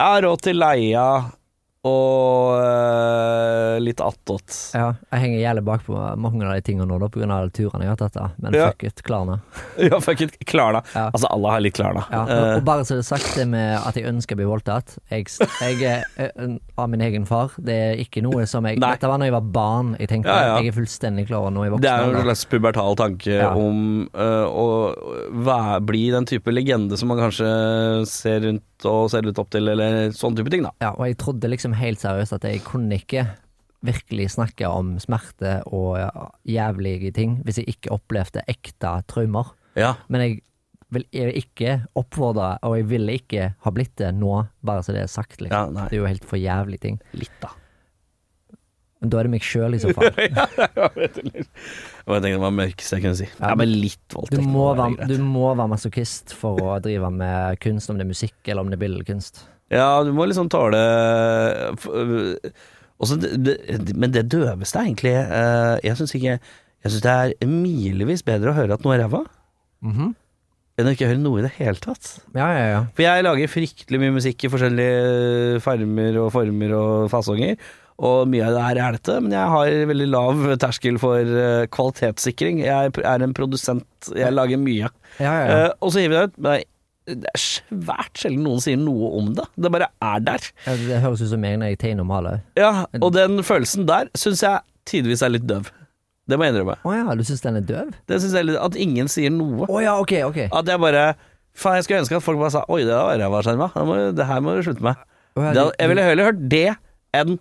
Jeg har råd til leia og eh, litt attåt. Ja, jeg henger jævlig bak på mange av de tingene nå, da, på grunn av alle turene jeg har tatt. da Men Ja. fuck it, Klarna. Ja, fuck it. Klarna. Ja. Altså, alle har litt Klarna. Ja, Eh, og- og bare så det er sagt, det med at jeg ønsker å bli voldtatt jeg, jeg er eh, av min egen far. Det er ikke noe som jeg Nei. Dette var når jeg var barn. Jeg tenkte Ja, ja. jeg er fullstendig klar over nå i voksen Det er jo en alder. slags pubertal tanke Ja. om øh, å væ- bli den type legende som man kanskje ser rundt og ser litt opp til, eller sånn type ting, da. Ja, og jeg trodde liksom helt seriøst at jeg kunne ikke virkelig snakke om smerte og ja, jævlige ting hvis jeg ikke opplevde ekte traumer. Ja. Men jeg vil jeg vil ikke oppfordre, og jeg ville ikke ha blitt det nå, bare så det er sagt. Liksom. Ja, nei. Det er jo helt for jævlig ting. Litt, da. Men da er det meg sjøl i så fall. ja, jeg vet det litt. Og jeg tenkte det var mørkest jeg kunne si. Ja, men litt Du voldtekt. må, må være være, greit. du må være masochist for å drive med kunst, om det er musikk eller om det er billedkunst. Ja, du må liksom tåle f- øh, også, det, det, Men det døveste er egentlig øh, Jeg syns ikke Jeg syns det er milevis bedre å høre at noe er ræva, Mhm. enn å ikke høre noe i det hele tatt. Ja, ja, ja. For jeg lager fryktelig mye musikk i forskjellige eh, farmer og former og fasonger. Og mye av det her er dette, men jeg har veldig lav terskel for eh, kvalitetssikring. Jeg er en produsent, jeg lager mye. ja, ja, ja. Eh, og så hiver jeg det ut. Men det er svært sjelden noen sier noe om det. Det bare er der. Ja, Det høres ut som meg når jeg tegner og maler. Ja, Og den følelsen der syns jeg tidvis er litt døv. Det må jeg innrømme. Å ja, du syns den er døv? Det synes jeg er litt, At ingen sier noe. Å ja, ok, ok. At jeg bare Faen, jeg skulle ønske at folk bare sa Oi, det var ræva skjerma. Det må- Det her må du slutte med. Å, ja, Det, du- jeg ville heller hørt det enn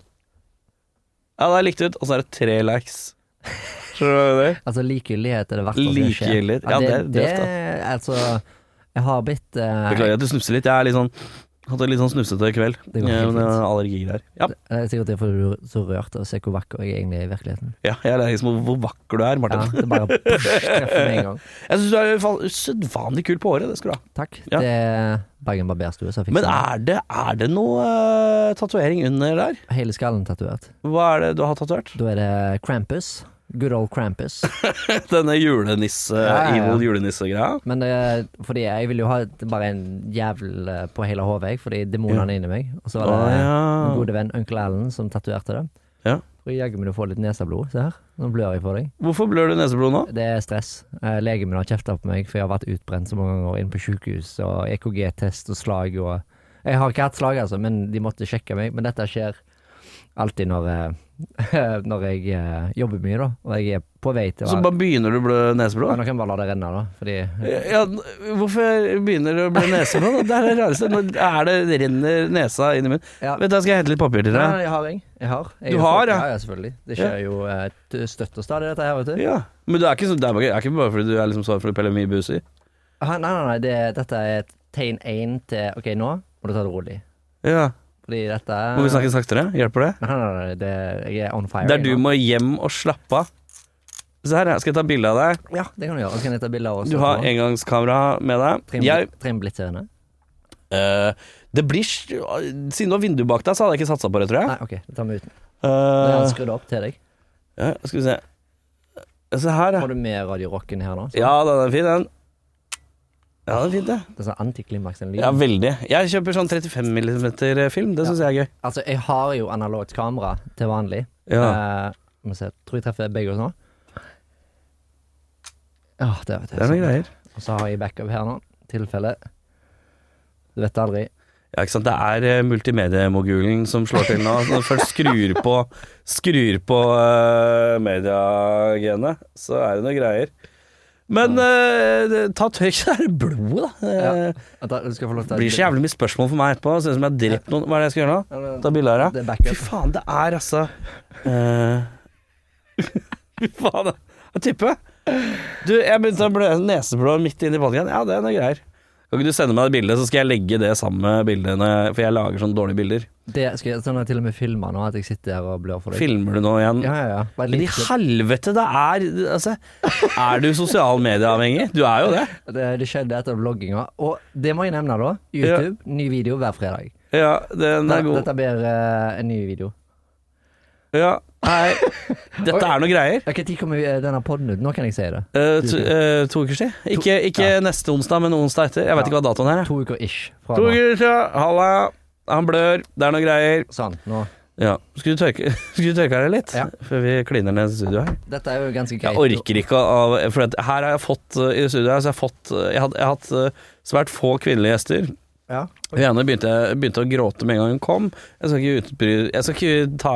Ja, det er likt ut, og så er det tre likes. Skjønner du det? Altså likegyldighet er det verste som skjer. Likegyldighet. Ja, det er døvt, Altså, jeg har blitt eh, Beklager at du snufser litt. Jeg er litt sånn Hatt en litt sånn snufsete kveld. Det går helt Ja, men Det fint. er allergier her. Ja, Det er sikkert derfor du er så rørt av å se hvor vakker jeg egentlig er i virkeligheten. ja, jeg er allergisk mot hvor vakker du er, Ja, Martin. det bare push, treffer med en gang. Jeg syns du er i hvert fall usedvanlig kul på håret, det skal du ha. Takk. Ja. Det er Bergen Barberstue som fikser Men er det, er det noe uh, tatovering under der? det. hele skallen tatovert. Hva er det du har tatovert? Da er det Krampus. Good old Krampus. Denne julenisse, Ja, ja, ja. evil julenisse-greia? Men det, fordi jeg vil jo ha et- bare en jævel eh, på hele hodet, jeg, fordi demonene er inni meg. Og så var Å, det ja. min gode venn onkel Allen som tatoverte det. Ja. Og jaggu meg du får litt neseblod. Se her, nå blør jeg for deg. Hvorfor blør du neseblod nå? Det er stress. Eh, Legen min har kjefta på meg, for jeg har vært utbrent så mange ganger inne på sykehus, og EKG-test og slag og Jeg har ikke hatt slag, altså, men de måtte sjekke meg. Men dette skjer alltid når, eh, når jeg eh, jobber mye, da. Og jeg er på vei til å Så bare begynner du å blø neseblod? Ja, Nå kan jeg bare la det renne, da. Fordi Ja, n- hvorfor begynner det å bli neseblod? Det er det rareste. Nå er det renner nesa inn i munnen. Ja. Vet du, jeg skal hente litt papir til Nei, deg. nei, jeg har jeg. Jeg har. Jeg Du er jo har, for- ja. ja? Ja, selvfølgelig. Det skjer jo eh, t- støtt og stadig, dette her, vet du. Ja. Men du er ikke, så, det er bare- det er ikke bare fordi du er liksom sånn for Pelle Mybusi? Ah, Nei, nei, nei, det, dette er et tegn én til OK, nå må du ta det rolig. Ja. Fordi dette er- Må vi snakke saktere? Hjelper det? Nei, nei, nei, det, jeg er on fire. Der du jeg nå. må hjem og slappe av. Se her, jeg skal ta bilde av deg. Ja, det kan du gjøre. Og så kan jeg ta bilder av oss. Du har engangskamera med deg. Trim, Jeg, trim blitzerne. eh, det blir s- Siden du har vindu bak deg, så hadde jeg ikke satsa på det, tror jeg. Nei, OK, det tar vi uten. Da er Eh, han skrudd opp til deg. ja, skal vi se. Se her, ja. Får du med Radio Rocken her nå? Så. Ja, den er fin, den. Ja, den er fint, det. Det er sånn antiklimaks den lyden. Ja, veldig. Jeg kjøper sånn 35 mm film, det syns jeg er gøy. Altså, jeg har jo analogt kamera til vanlig. Ja. Eh, må se, tror jeg treffer begge oss nå. Ja, det vet jeg. Det er noen greier. Og så har jeg backup her nå, tilfelle. Du vet aldri. Ja, ikke sant. Det er eh, multimediemogulen som slår til nå. Når du først skrur på, skrur på uh, mediegenet, så er det noen greier. Men eh, det- ta tørk det er blodet, da. Eh, Vent da, du skal få lov til Det å- blir så jævlig mye spørsmål for meg etterpå. Ser ut som jeg har drept noen. Hva er det jeg skal gjøre nå? Ja, men- Ta bilde her, Det er ja. backup. Fy faen, det er altså eh, Fy faen, det er type. Du, jeg begynte å blø neseblå midt inn i podkasten. Ja, det er noe greier. Kan ikke du sende meg det bildet, så skal jeg legge det sammen med bildene, for jeg lager sånne dårlige bilder. Det skal jeg, sånn har jeg til og med filma nå, at jeg sitter her og blør for deg. Filmer du nå igjen? Ja, ja, ja. Bare Men i litt- helvete, det er altså, Er du sosial medieavhengig? Du er jo det. Det, det skjedde etter vlogginga. Og det må jeg nevne, da. YouTube, ny video hver fredag. Ja, den er god. Dette blir eh, en ny video. Ja, nei, dette er noe greier. Ja, Når kommer eh, denne podden ut? Nå kan jeg si det. Eh, to, eh, to uker siden. Ikke, ikke neste onsdag, men onsdag etter. Jeg vet Ja. ikke hva datoen er. jeg. To uker ish. Fra To nå. uker siden. Halla. Han blør. Det er noe greier. Sånn. Nå. Ja. Skulle du tørke, skulle du tørke deg litt? Ja. Før vi kliner ned studio her. Dette er jo ganske greit. Jeg orker ikke av For at her har jeg fått eh, I studio her så har jeg fått eh, Jeg har jeg har hatt eh, svært få kvinnelige gjester. Ja. Hun ene begynte, begynte å gråte med en gang hun kom. Jeg skal, ikke utbry, jeg skal ikke ta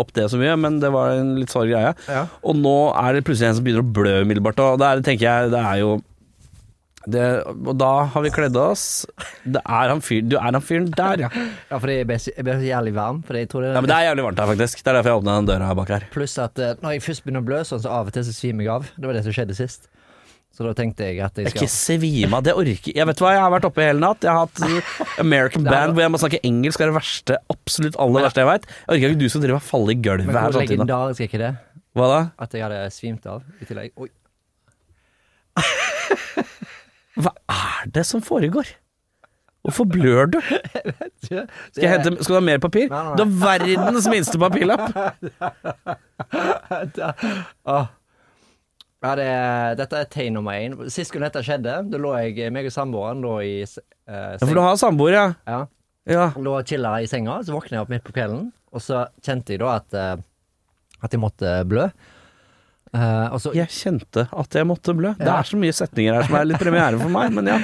opp det så mye, men det var en litt sår greie. Ja. Og nå er det plutselig en som begynner å blø umiddelbart, og der tenker jeg det er jo det, Og da har vi kledd oss. Det er han fyren Du er han fyren der, ja. Ja, fordi jeg ble, så- jeg ble så jævlig varm. Fordi jeg tror det, Nei, men det er jævlig varmt her, faktisk. Det er derfor jeg åpna den døra her bak her. Pluss at eh, når jeg først begynner å blø, sånn så av og til så svimer jeg av. Det var det som skjedde sist. Så da tenkte jeg at jeg Jeg er skal ikke svima, det orker Jeg vet hva, jeg har vært oppe hele natt. Jeg har hatt American Det er Band bra. hvor jeg må snakke engelsk, det er det verste, absolutt aller verste jeg veit. Jeg orker ikke du skal drive og falle i gulvet Men her hvor samtidig. da. legendarisk er ikke det? Hva da? At jeg hadde svimt av i tillegg. Oi. Hva er det som foregår? Hvorfor blør du? Skal, Skal jeg hente, skal du ha mer papir? Nei, nei, nei. Du har verdens minste papirlapp! Ja, det, dette er tegn nummer én. Sist gang dette skjedde, da lå jeg meg og samboeren lå i s- eh, Ja, for du senga. har samboer, ja. Ja, ja. lå og chilla i senga, så våkna jeg opp midt på kvelden, og så kjente jeg da at, eh, at jeg måtte blø. Eh, og, så, Jeg kjente at jeg måtte blø. Det Ja. er så mye setninger her som er litt premiere for meg, men ja.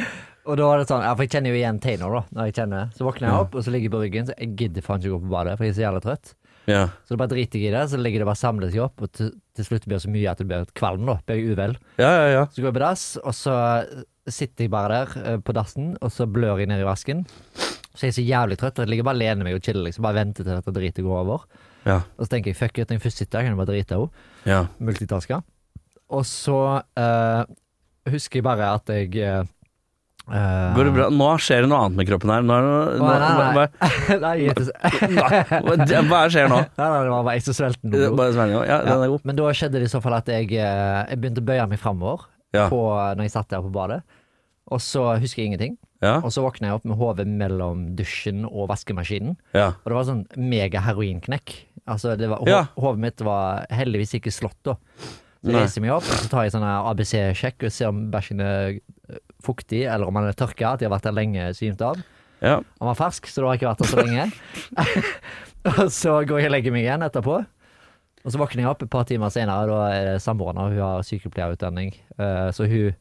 og da var det sånn, ja, for jeg kjenner jo igjen tegner da, når jeg kjenner det. Så våkner jeg opp, og så ligger jeg på ryggen, så jeg gidder faen ikke gå på badet, for jeg er så jævla trøtt. ja. Så da bare driter jeg i det, så ligger det bare samlet seg opp, og til, til slutt blir det så mye at det blir et kvalm da, blir jeg uvel. Ja, ja, ja. Så går jeg på dass, og så sitter jeg bare der eh, på dassen, og så blør jeg ned i vasken. Så jeg er så jævlig trøtt, og jeg ligger bare og lener meg og chiller, liksom. Bare venter til dette dritet går over. Ja. Og så tenker jeg fuck it, når jeg først sitter her, kan jeg bare drite av henne. ja. Multitaska. Og så eh, husker jeg bare at jeg eh, eh, Går det bra? Nå skjer det noe annet med kroppen her. Nå er det, nå, Å, nei, nei, hva- nei. nei, jeg er ikke så- Nei, hva- det- Hva skjer nå? nei, nei, det var bare jeg som svelget noe blod. Bare svelg nå. Ja, den er god. Men da skjedde det i så fall at jeg, eh, jeg begynte å bøye meg framover Ja. når jeg satt der på badet. Og så husker jeg ingenting. Ja, Og så våkna jeg opp med hodet mellom dusjen og vaskemaskinen. ja. Og det var sånn mega heroinknekk. Altså, det var, ho- Ja. Hodet mitt var heldigvis ikke slått da. Så Nei. jeg reiser meg opp, og så tar jeg sånn her ABC-sjekk og ser om bæsjen er eh, fuktig, eller om han er tørka, at jeg har vært der lenge svimt av. ja. Han var fersk, så da har jeg ikke vært der så lenge. og så går jeg og legger meg igjen etterpå. Og så våkner jeg opp et par timer senere, da er det samboeren og hun har sykepleierutdanning. Eh, så hun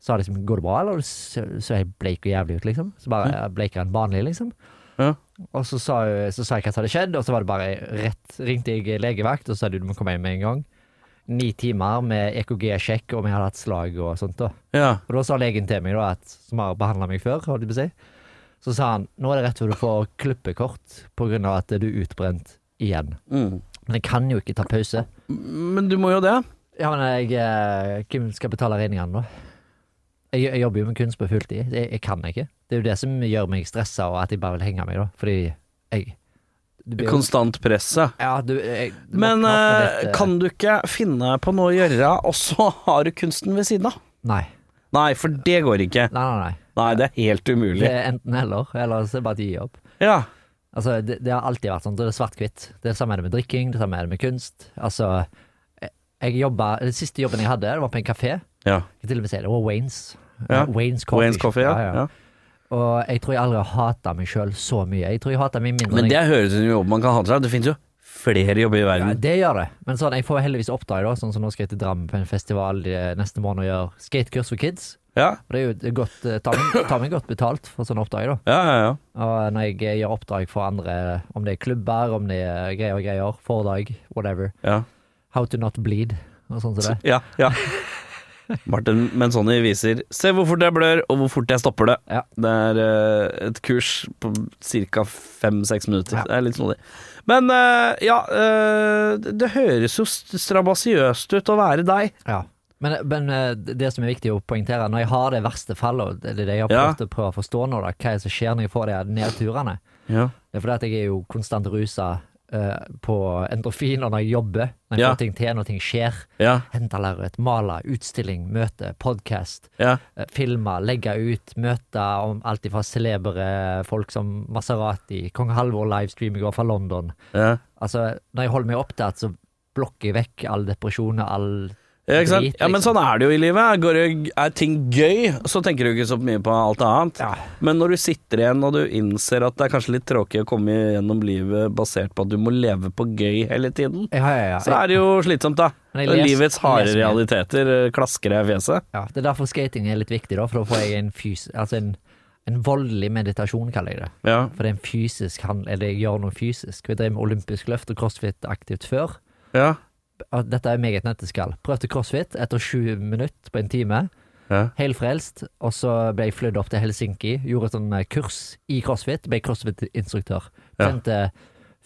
sa liksom 'går det bra', eller så, så jeg bleik og jævlig ut, liksom. Så bare jeg bleikere enn vanlig, liksom. Ja. Og så sa, hun, så sa jeg hva som hadde skjedd, og så var det bare rett Ringte jeg legevakt, og så sa de du må komme hjem med en gang. Ni timer med EKG-sjekk om jeg hadde hatt slag og sånt, da. ja. Og da sa legen til meg, da, at, som har behandla meg før, holdt jeg på å si, så sa han nå er det rett før du får klippekort pga. at du er utbrent igjen. Mm. Men jeg kan jo ikke ta pause. Men du må jo det. Ja, men jeg, eh, Hvem skal betale regningene, da? Jeg, jeg jobber jo med kunst på fulltid. Jeg, jeg kan ikke. Det er jo det som gjør meg stressa, og at jeg bare vil henge meg, da. Fordi jeg du blir jo- Konstant press, ja. Ja, du, jeg, du Men våkner opp eh, med litt, eh, kan du ikke finne på noe å gjøre, og så har du kunsten ved siden av? Nei. Nei, for det går ikke. Nei, nei, nei. Nei, det er helt Det umulig. er enten eller. Eller så er det bare å gi opp. Ja. Altså, det, det har alltid vært sånn. Det er svart-hvitt. Det samme er det med drikking, det samme er det med kunst. Altså, jeg, jeg jobba Den siste jobben jeg hadde, det var på en kafé. ja. Jeg kan til og med si det, det var Waynes. Ja. Waynes Coffee. Wayne's coffee, ja. ja. Og jeg tror jeg aldri har hata meg sjøl så mye. Jeg tror jeg hater meg mindre Men enn jeg det høres ut som en jobb man kan ha til seg. Det finnes jo flere jobber i ja, verden. det gjør det, men sånn, jeg får heldigvis oppdrag, da. Sånn som nå skal jeg til Drammen på en festival eh, neste måned og gjøre skatekurs for kids. Ja, Og det er jo et godt, eh, tar meg- tar meg godt betalt for sånne oppdrag, da. ja, ja. ja. Og når jeg eh, gjør oppdrag for andre, om det er klubber, om det er greier og greier, foredrag, whatever. ja. How to not bleed, og sånn som det. Ja, ja. Martin Menzoni viser 'Se hvor fort jeg blør, og hvor fort jeg stopper det'. Ja. Det er eh, et kurs på ca. fem-seks minutter. Ja. Det er litt snodig. Men eh, ja, eh, det det høres jo st- strabasiøst ut å være deg. Ja. Men, men eh, det som er viktig å poengtere, når jeg har det verste fallet, og det er det jeg har Ja. prøvd å prøve å forstå nå, da, hva er det som skjer når jeg får de her nedturene, Ja. det er fordi at jeg er jo konstant rusa eh, på endorfiner når jeg jobber, når jeg Ja. får ting til, når ting skjer. Ja. Hente lerret, male, utstilling, møte, podkast, ja. filme, legge ut, møte om alt ifra celebre folk som Maserati, Kong Halvor livestream i går fra London. ja. Altså, når jeg holder meg opptatt, så blokker jeg vekk all depresjon og all Ja, ikke sant? drit, ja, men liksom. sånn er det jo i livet. Går det, er ting gøy, så tenker du ikke så mye på alt annet. Ja. Men når du sitter igjen og du innser at det er kanskje litt tråkig å komme gjennom livet basert på at du må leve på gøy hele tiden, Ja, ja, ja. så er det jo slitsomt, da. Men jeg les- Livets harde leser mye. realiteter eh, klasker deg i fjeset. Ja, det er derfor skating er litt viktig, da, for da får jeg en fys... Altså en, en voldelig meditasjon, kaller jeg det. Ja. For det er en fysisk handel, eller jeg gjør noe fysisk. Vi drev med olympisk løft og crossfit aktivt før. Ja. Og Dette er meget nøtteskall. Prøvde crossfit etter sju minutter på en time. Ja. Helfrelst. Og så ble jeg flydd opp til Helsinki. Gjorde et sånn eh, kurs i crossfit. Ble crossfit-instruktør. Ja. Trente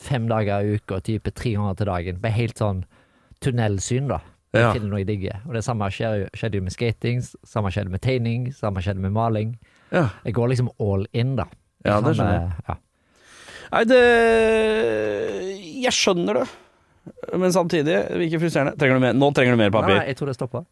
fem dager i uka, type tre ganger til dagen. Ble helt sånn tunnelsyn, da. Jeg Ja. finner noe jeg digger. Og det samme skjer, jo- skjedde jo med skating, s- samme skjedde med tegning, samme skjedde med maling. ja. Jeg går liksom all in, da. Jeg Ja, det kan, skjønner eh, Ja. Nei, det Jeg skjønner det. Men samtidig, virker frustrerende. Trenger du mer? Nå trenger du mer Nei, papir. nei, jeg tror det stopper.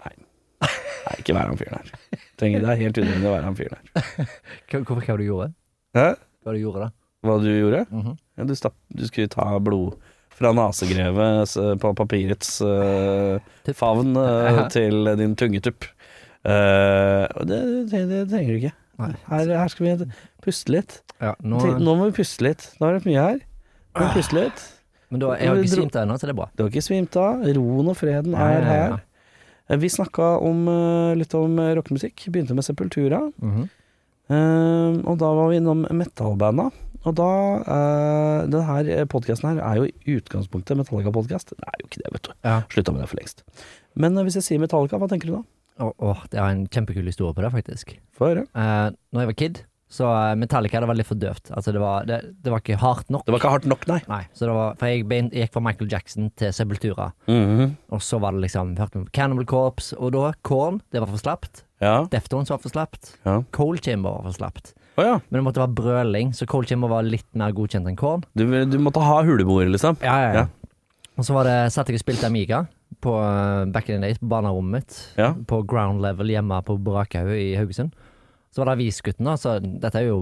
Nei, ikke vær han fyren her. Trenger, det er helt unødvendig å være han fyren her. Hva- Hvorfor hva du gjorde? Hæ? Hva du gjorde da? Hva du gjorde? Mhm. Ja, du, stapp, du skulle ta blod fra nasegrevet s- på papirets eh, Tupp. favn eh, Ja. til din tungetupp. Eh, og det, det, det trenger du ikke. Nei. Her, her skal vi puste litt. Ja, Tenk- nå, Nå må vi puste litt. Nå er det mye her. Nå må vi puste litt. men da, jeg har ikke svimt ennå, så det er bra. Du har ikke svimt av. Roen og freden Ja, er ja, ja. her. Eh, Vi snakka om, eh, litt om eh, rockemusikk. Begynte med Sepultura. Mhm. Eh, og da var vi innom metallbanda. Og da uh, Den her podkasten her er jo i utgangspunktet Metallica-podkast. Det er jo ikke det, vet du. Ja. Slutta med det for lengst. Men eh, hvis jeg sier Metallica, hva tenker du da? Å, å, det er en kjempekul historie på det, faktisk. Få høre. Uh, når jeg var kid, så eh, Metallica det var litt for døvt. Altså, det, var, det, det var ikke hardt nok. Det var ikke hardt nok, nei. Nei, så det var, for jeg begyn- gikk fra Michael Jackson til Sepultura. Og så var det liksom hørte vi på Cannibal Corps, og da Korn, det var for slapt. Ja. Deftones var for slapt. Ja. Cold Chamber var for slapt. Å ja. Men det måtte være brøling, så Cold Chamber var litt mer godkjent enn Korn. Du, du måtte ha huleboer, liksom. Ja, ja, ja. Og så var det, satt jeg og spilte Amiga på eh, back in the days, på barnerommet mitt. Ja. På ground level hjemme på Brakhaug i Haugesund. Så var det Avisgutten, da. Så dette er jo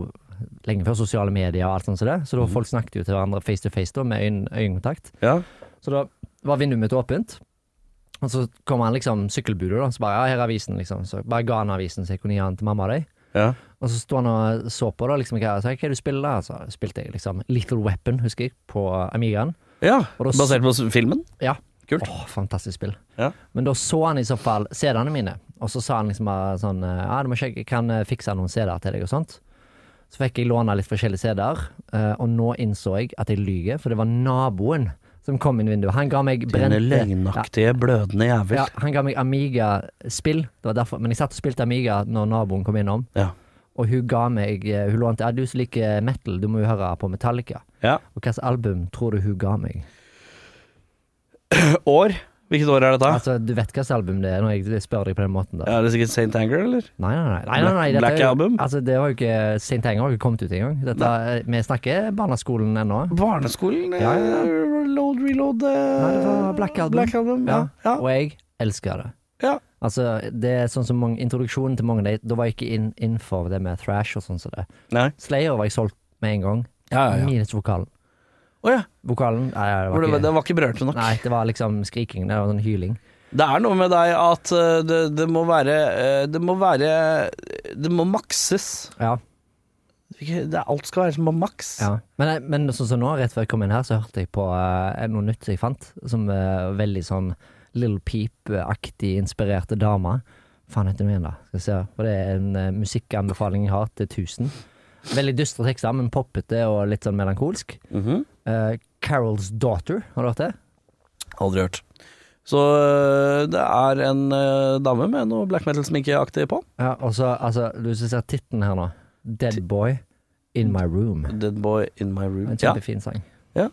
lenge før sosiale medier og alt sånt som det. Så da folk snakket jo til hverandre face to face da, med øyn- øyekontakt. Ja. Så da var vinduet mitt åpent. Og så kom han liksom sykkelbudet, da. Så bare ja, her er avisen, liksom. Så bare ga han avisen så jeg kunne gi han til mamma og deg. Ja. Og så sto han og så på, da. liksom, hva, så, jeg, hva er det du spiller da? Så spilte jeg liksom Little Weapon, husker jeg, på Amigaen. ja. Og da s- Basert på s- filmen? Ja. Kult. Åh, fantastisk spill. Ja. Men da så han i så fall CD-ene mine, og så sa han liksom bare sånn eh, Ja, du må sjekke, kan eh, fikse noen CD-er til deg og sånt. Så fikk jeg låne litt forskjellige CD-er, eh, og nå innså jeg at jeg lyver, for det var naboen som kom inn i vinduet. Han ga meg Denne brente løgnaktige, blødende jævel. ja, han ga meg Amiga-spill, Det var derfor- men jeg satt og spilte Amiga når naboen kom innom. Ja. Og hun ga meg eh, Hun lånte Ja, du som liker metal, du må jo høre på Metallica. ja. Og hvilket album tror du hun ga meg? År? Hvilket år er dette? Altså, Du vet hvilket album det er, når jeg spør deg på den måten. da Ja, er det sikkert St. Anger, eller? Nei, nei, nei. nei, nei, nei dette Black er jo- Album? Altså, det var jo ikke St. Anger har jo ikke kommet ut engang. Dette, er- vi snakker barneskolen ennå. Barneskolen? Ja, ja, ja. eh, Load, reload eh, Nei, det var Black Album. ja. Ja. Og jeg elsker det. Ja. Altså, det er sånn som mange, Introduksjonen til mange av de Da var jeg ikke inn- innenfor det med thrash og sånn som det. Nei. Slayer var jeg solgt med en gang. Ja, ja, ja. Minus vokalen. Å ja. Vokalen nei, det For var det, var- ikke, det var ikke berørte nok. nei, det var liksom skriking. Det var sånn hyling. Det er noe med deg at eh, det, det må være eh, Det må være Det må makses. Ja, Ikke- Det, alt skal være som på maks. ja. Men, men sånn som nå, rett før jeg kom inn her, så hørte jeg på eh, noe nytt som jeg fant, som eh, veldig sånn Little Peep-aktig inspirerte dame. Faen heter hun igjen, da. Skal vi se. For det er en eh, musikkanbefaling jeg har til 1000. Veldig dystre tekster, men poppete og litt sånn melankolsk. Mhm. Eh, Carol's Daughter, har du hørt det? Aldri hørt. Så eh, det er en eh, dame med noe black metal-sminke aktig på. Ja, og så, altså, du skal se titten her nå. Dead Boy In My Room. Dead Boy in my room. En Ja. kjempefin sang. Eh,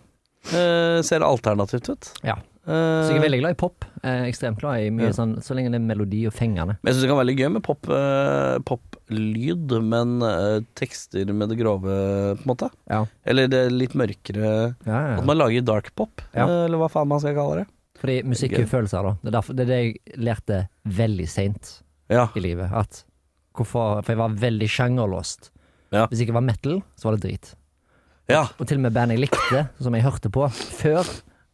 ser alternativt ut. Ja. Så jeg er veldig glad i pop. Eh, ekstremt glad i mye sånn Så lenge det er melodi og fengende. Men jeg syns det kan være veldig gøy med pop, eh, poplyd, men eh, tekster med det grove, på en måte. Ja. Eller det litt mørkere Ja, ja, At ja. man lager dark pop, Ja. eh, eller hva faen man skal kalle det. Fordi musikk Gøy. er følelser, da. Det er, derfor, det er det jeg lærte veldig seint Ja. i livet. At hvorfor, for jeg var veldig sjangerlåst. Ja. Hvis jeg ikke var metal, så var det drit. ja. Og til og med band jeg likte, som jeg hørte på før,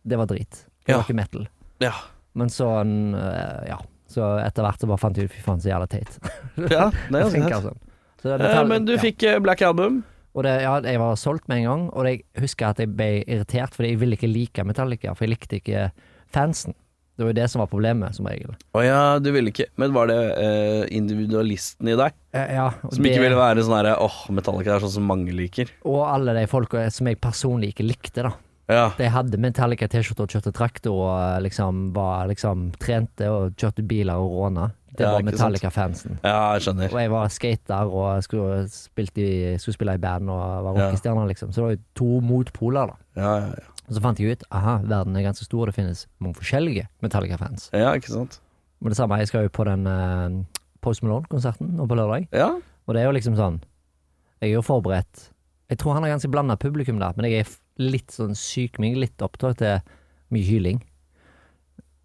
det var drit. Det Ja. var ikke metal. Ja. Men sånn, eh, ja. Så etter hvert så bare fant jeg ut fy faen, så jævla teit. ja det er Jeg jo tenker sant. sånn. Så det- det Eh, tar- Men du ja. fikk eh, Black Album. Og det, ja, jeg var solgt med en gang, og jeg husker at jeg ble irritert, fordi jeg ville ikke like Metallica, for jeg likte ikke fansen. Det var jo det som var problemet, som regel. Å ja, du ville ikke Men var det eh, individualisten i deg Eh, Ja, og som ikke det- ville være sånn herre Åh, Metallica er sånn som mange liker. Og alle de folka som jeg personlig ikke likte, da. Ja. De hadde Metallica T-skjorte og kjørte traktor og eh, liksom var liksom trente og kjørte biler og råna. Det Ja, var ikke sant. Metallica-fansen. ja, jeg skjønner. Og jeg var skater og skulle, spilte i, skulle spille i band og var Ja. rockestjerne, liksom. Så det var jo to motpoler, da. Ja, ja, ja. Og så fant jeg ut aha, verden er ganske stor, det finnes mange forskjellige Metallica-fans. ja ikke sant. Men det samme, jeg skal jo på den eh, Post Malone-konserten nå på lørdag, Ja. og det er jo liksom sånn Jeg er jo forberedt Jeg tror han har ganske blanda publikum der, men jeg er f- litt sånn sykming, litt opptatt til mye hyling.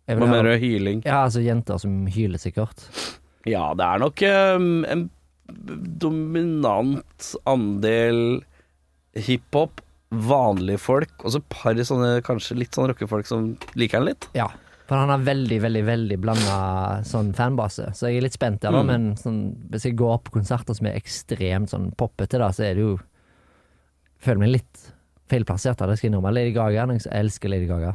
Jeg vil Hva høre- mener du? Hyling? Ja, altså jenter som hyler, sikkert. Ja, det er nok um, en dominant andel hiphop, vanlige folk, og så et par sånne kanskje litt sånn rockefolk som liker den litt. Ja. For han har veldig, veldig veldig blanda sånn fanbase, så jeg er litt spent der, da. Mm. Men sånn, hvis jeg går på konserter som er ekstremt sånn poppete, da, så er det jo Føler meg litt feilplassert, da, det skal jeg innrømme. Lady Gaga, jeg elsker Lady Gaga.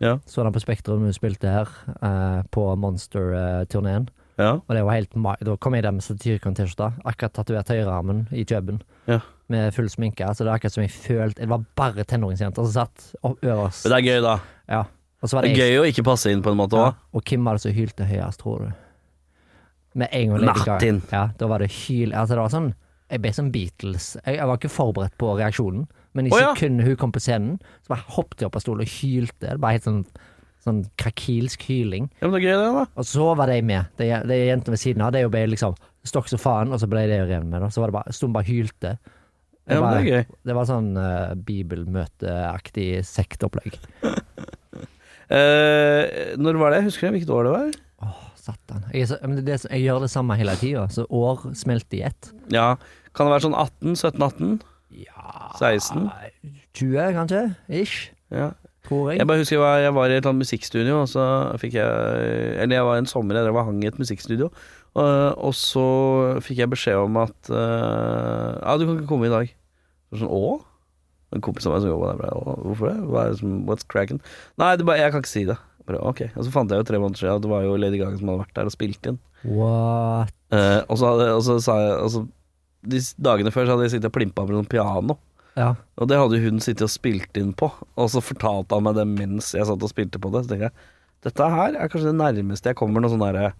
Ja. Så den på Spektrum hun spilte her, eh, på eh, Monster-turneen. Ja. Og det var helt ma Da kom jeg der med Satyricon-T-skjorta, akkurat tatovert høyrearmen i kjøben, Ja. med full sminke. Så det er akkurat som jeg følte Det var bare tenåringsjenter som satt opp øverst. Men det er gøy, da. Ja. Og så var Det det er jeg gøy å ikke passe inn på en måte ja. òg. Og hvem var det som hylte høyest, tror du? Med en gang Lady Gaga- Martin. Ja, da var det hyl Altså, det var sånn Jeg ble som Beatles. Jeg, jeg var ikke forberedt på reaksjonen, men i Å, ja. sekundet hun kom på scenen, så bare hoppet jeg opp av stolen og hylte. Det var helt sånn Sånn krakilsk hyling. Ja, men det er gøy, det, da. Og så var de med. De, de jentene ved siden av. De jo ble liksom stokk som faen, og så ble de revet med. Da. Så var det bare, sto hun bare og hylte. Ja, men det er gøy. det var sånn eh, bibelmøteaktig sektopplegg. Eh, når var det? Husker du hvilket år det var? Åh, satan. Jeg, er så, men det, er det, som- jeg gjør det samme hele tida, så år smelter i ett. Ja, Kan det være sånn 18? 17-18? Ja 16? 20, kanskje? Ish, Ja. tror jeg. Jeg bare husker jeg var, jeg var i et eller annet musikkstudio, og så fikk jeg Eller jeg var en sommer jeg drev og hang i et musikkstudio, og, og så fikk jeg beskjed om at eh, Ja, du kan ikke komme i dag. Så sånn, Å? En kompis av meg som jobba der, bare «Å, Hvorfor det? Hva er det som, what's cracking? Nei, det er bare, jeg kan ikke si det. Bare, ok. Og så fant jeg jo tre måneder siden at det var jo Lady Gaga som hadde vært der og spilt inn. What? Eh, og, så hadde, og så sa jeg altså, De dagene før så hadde jeg sittet og plimpa med noen piano. Ja. Og det hadde jo hun sittet og spilt inn på, og så fortalte han meg det mens jeg satt og spilte på det. Så tenkte jeg dette her er kanskje det nærmeste jeg kommer noe sånn derre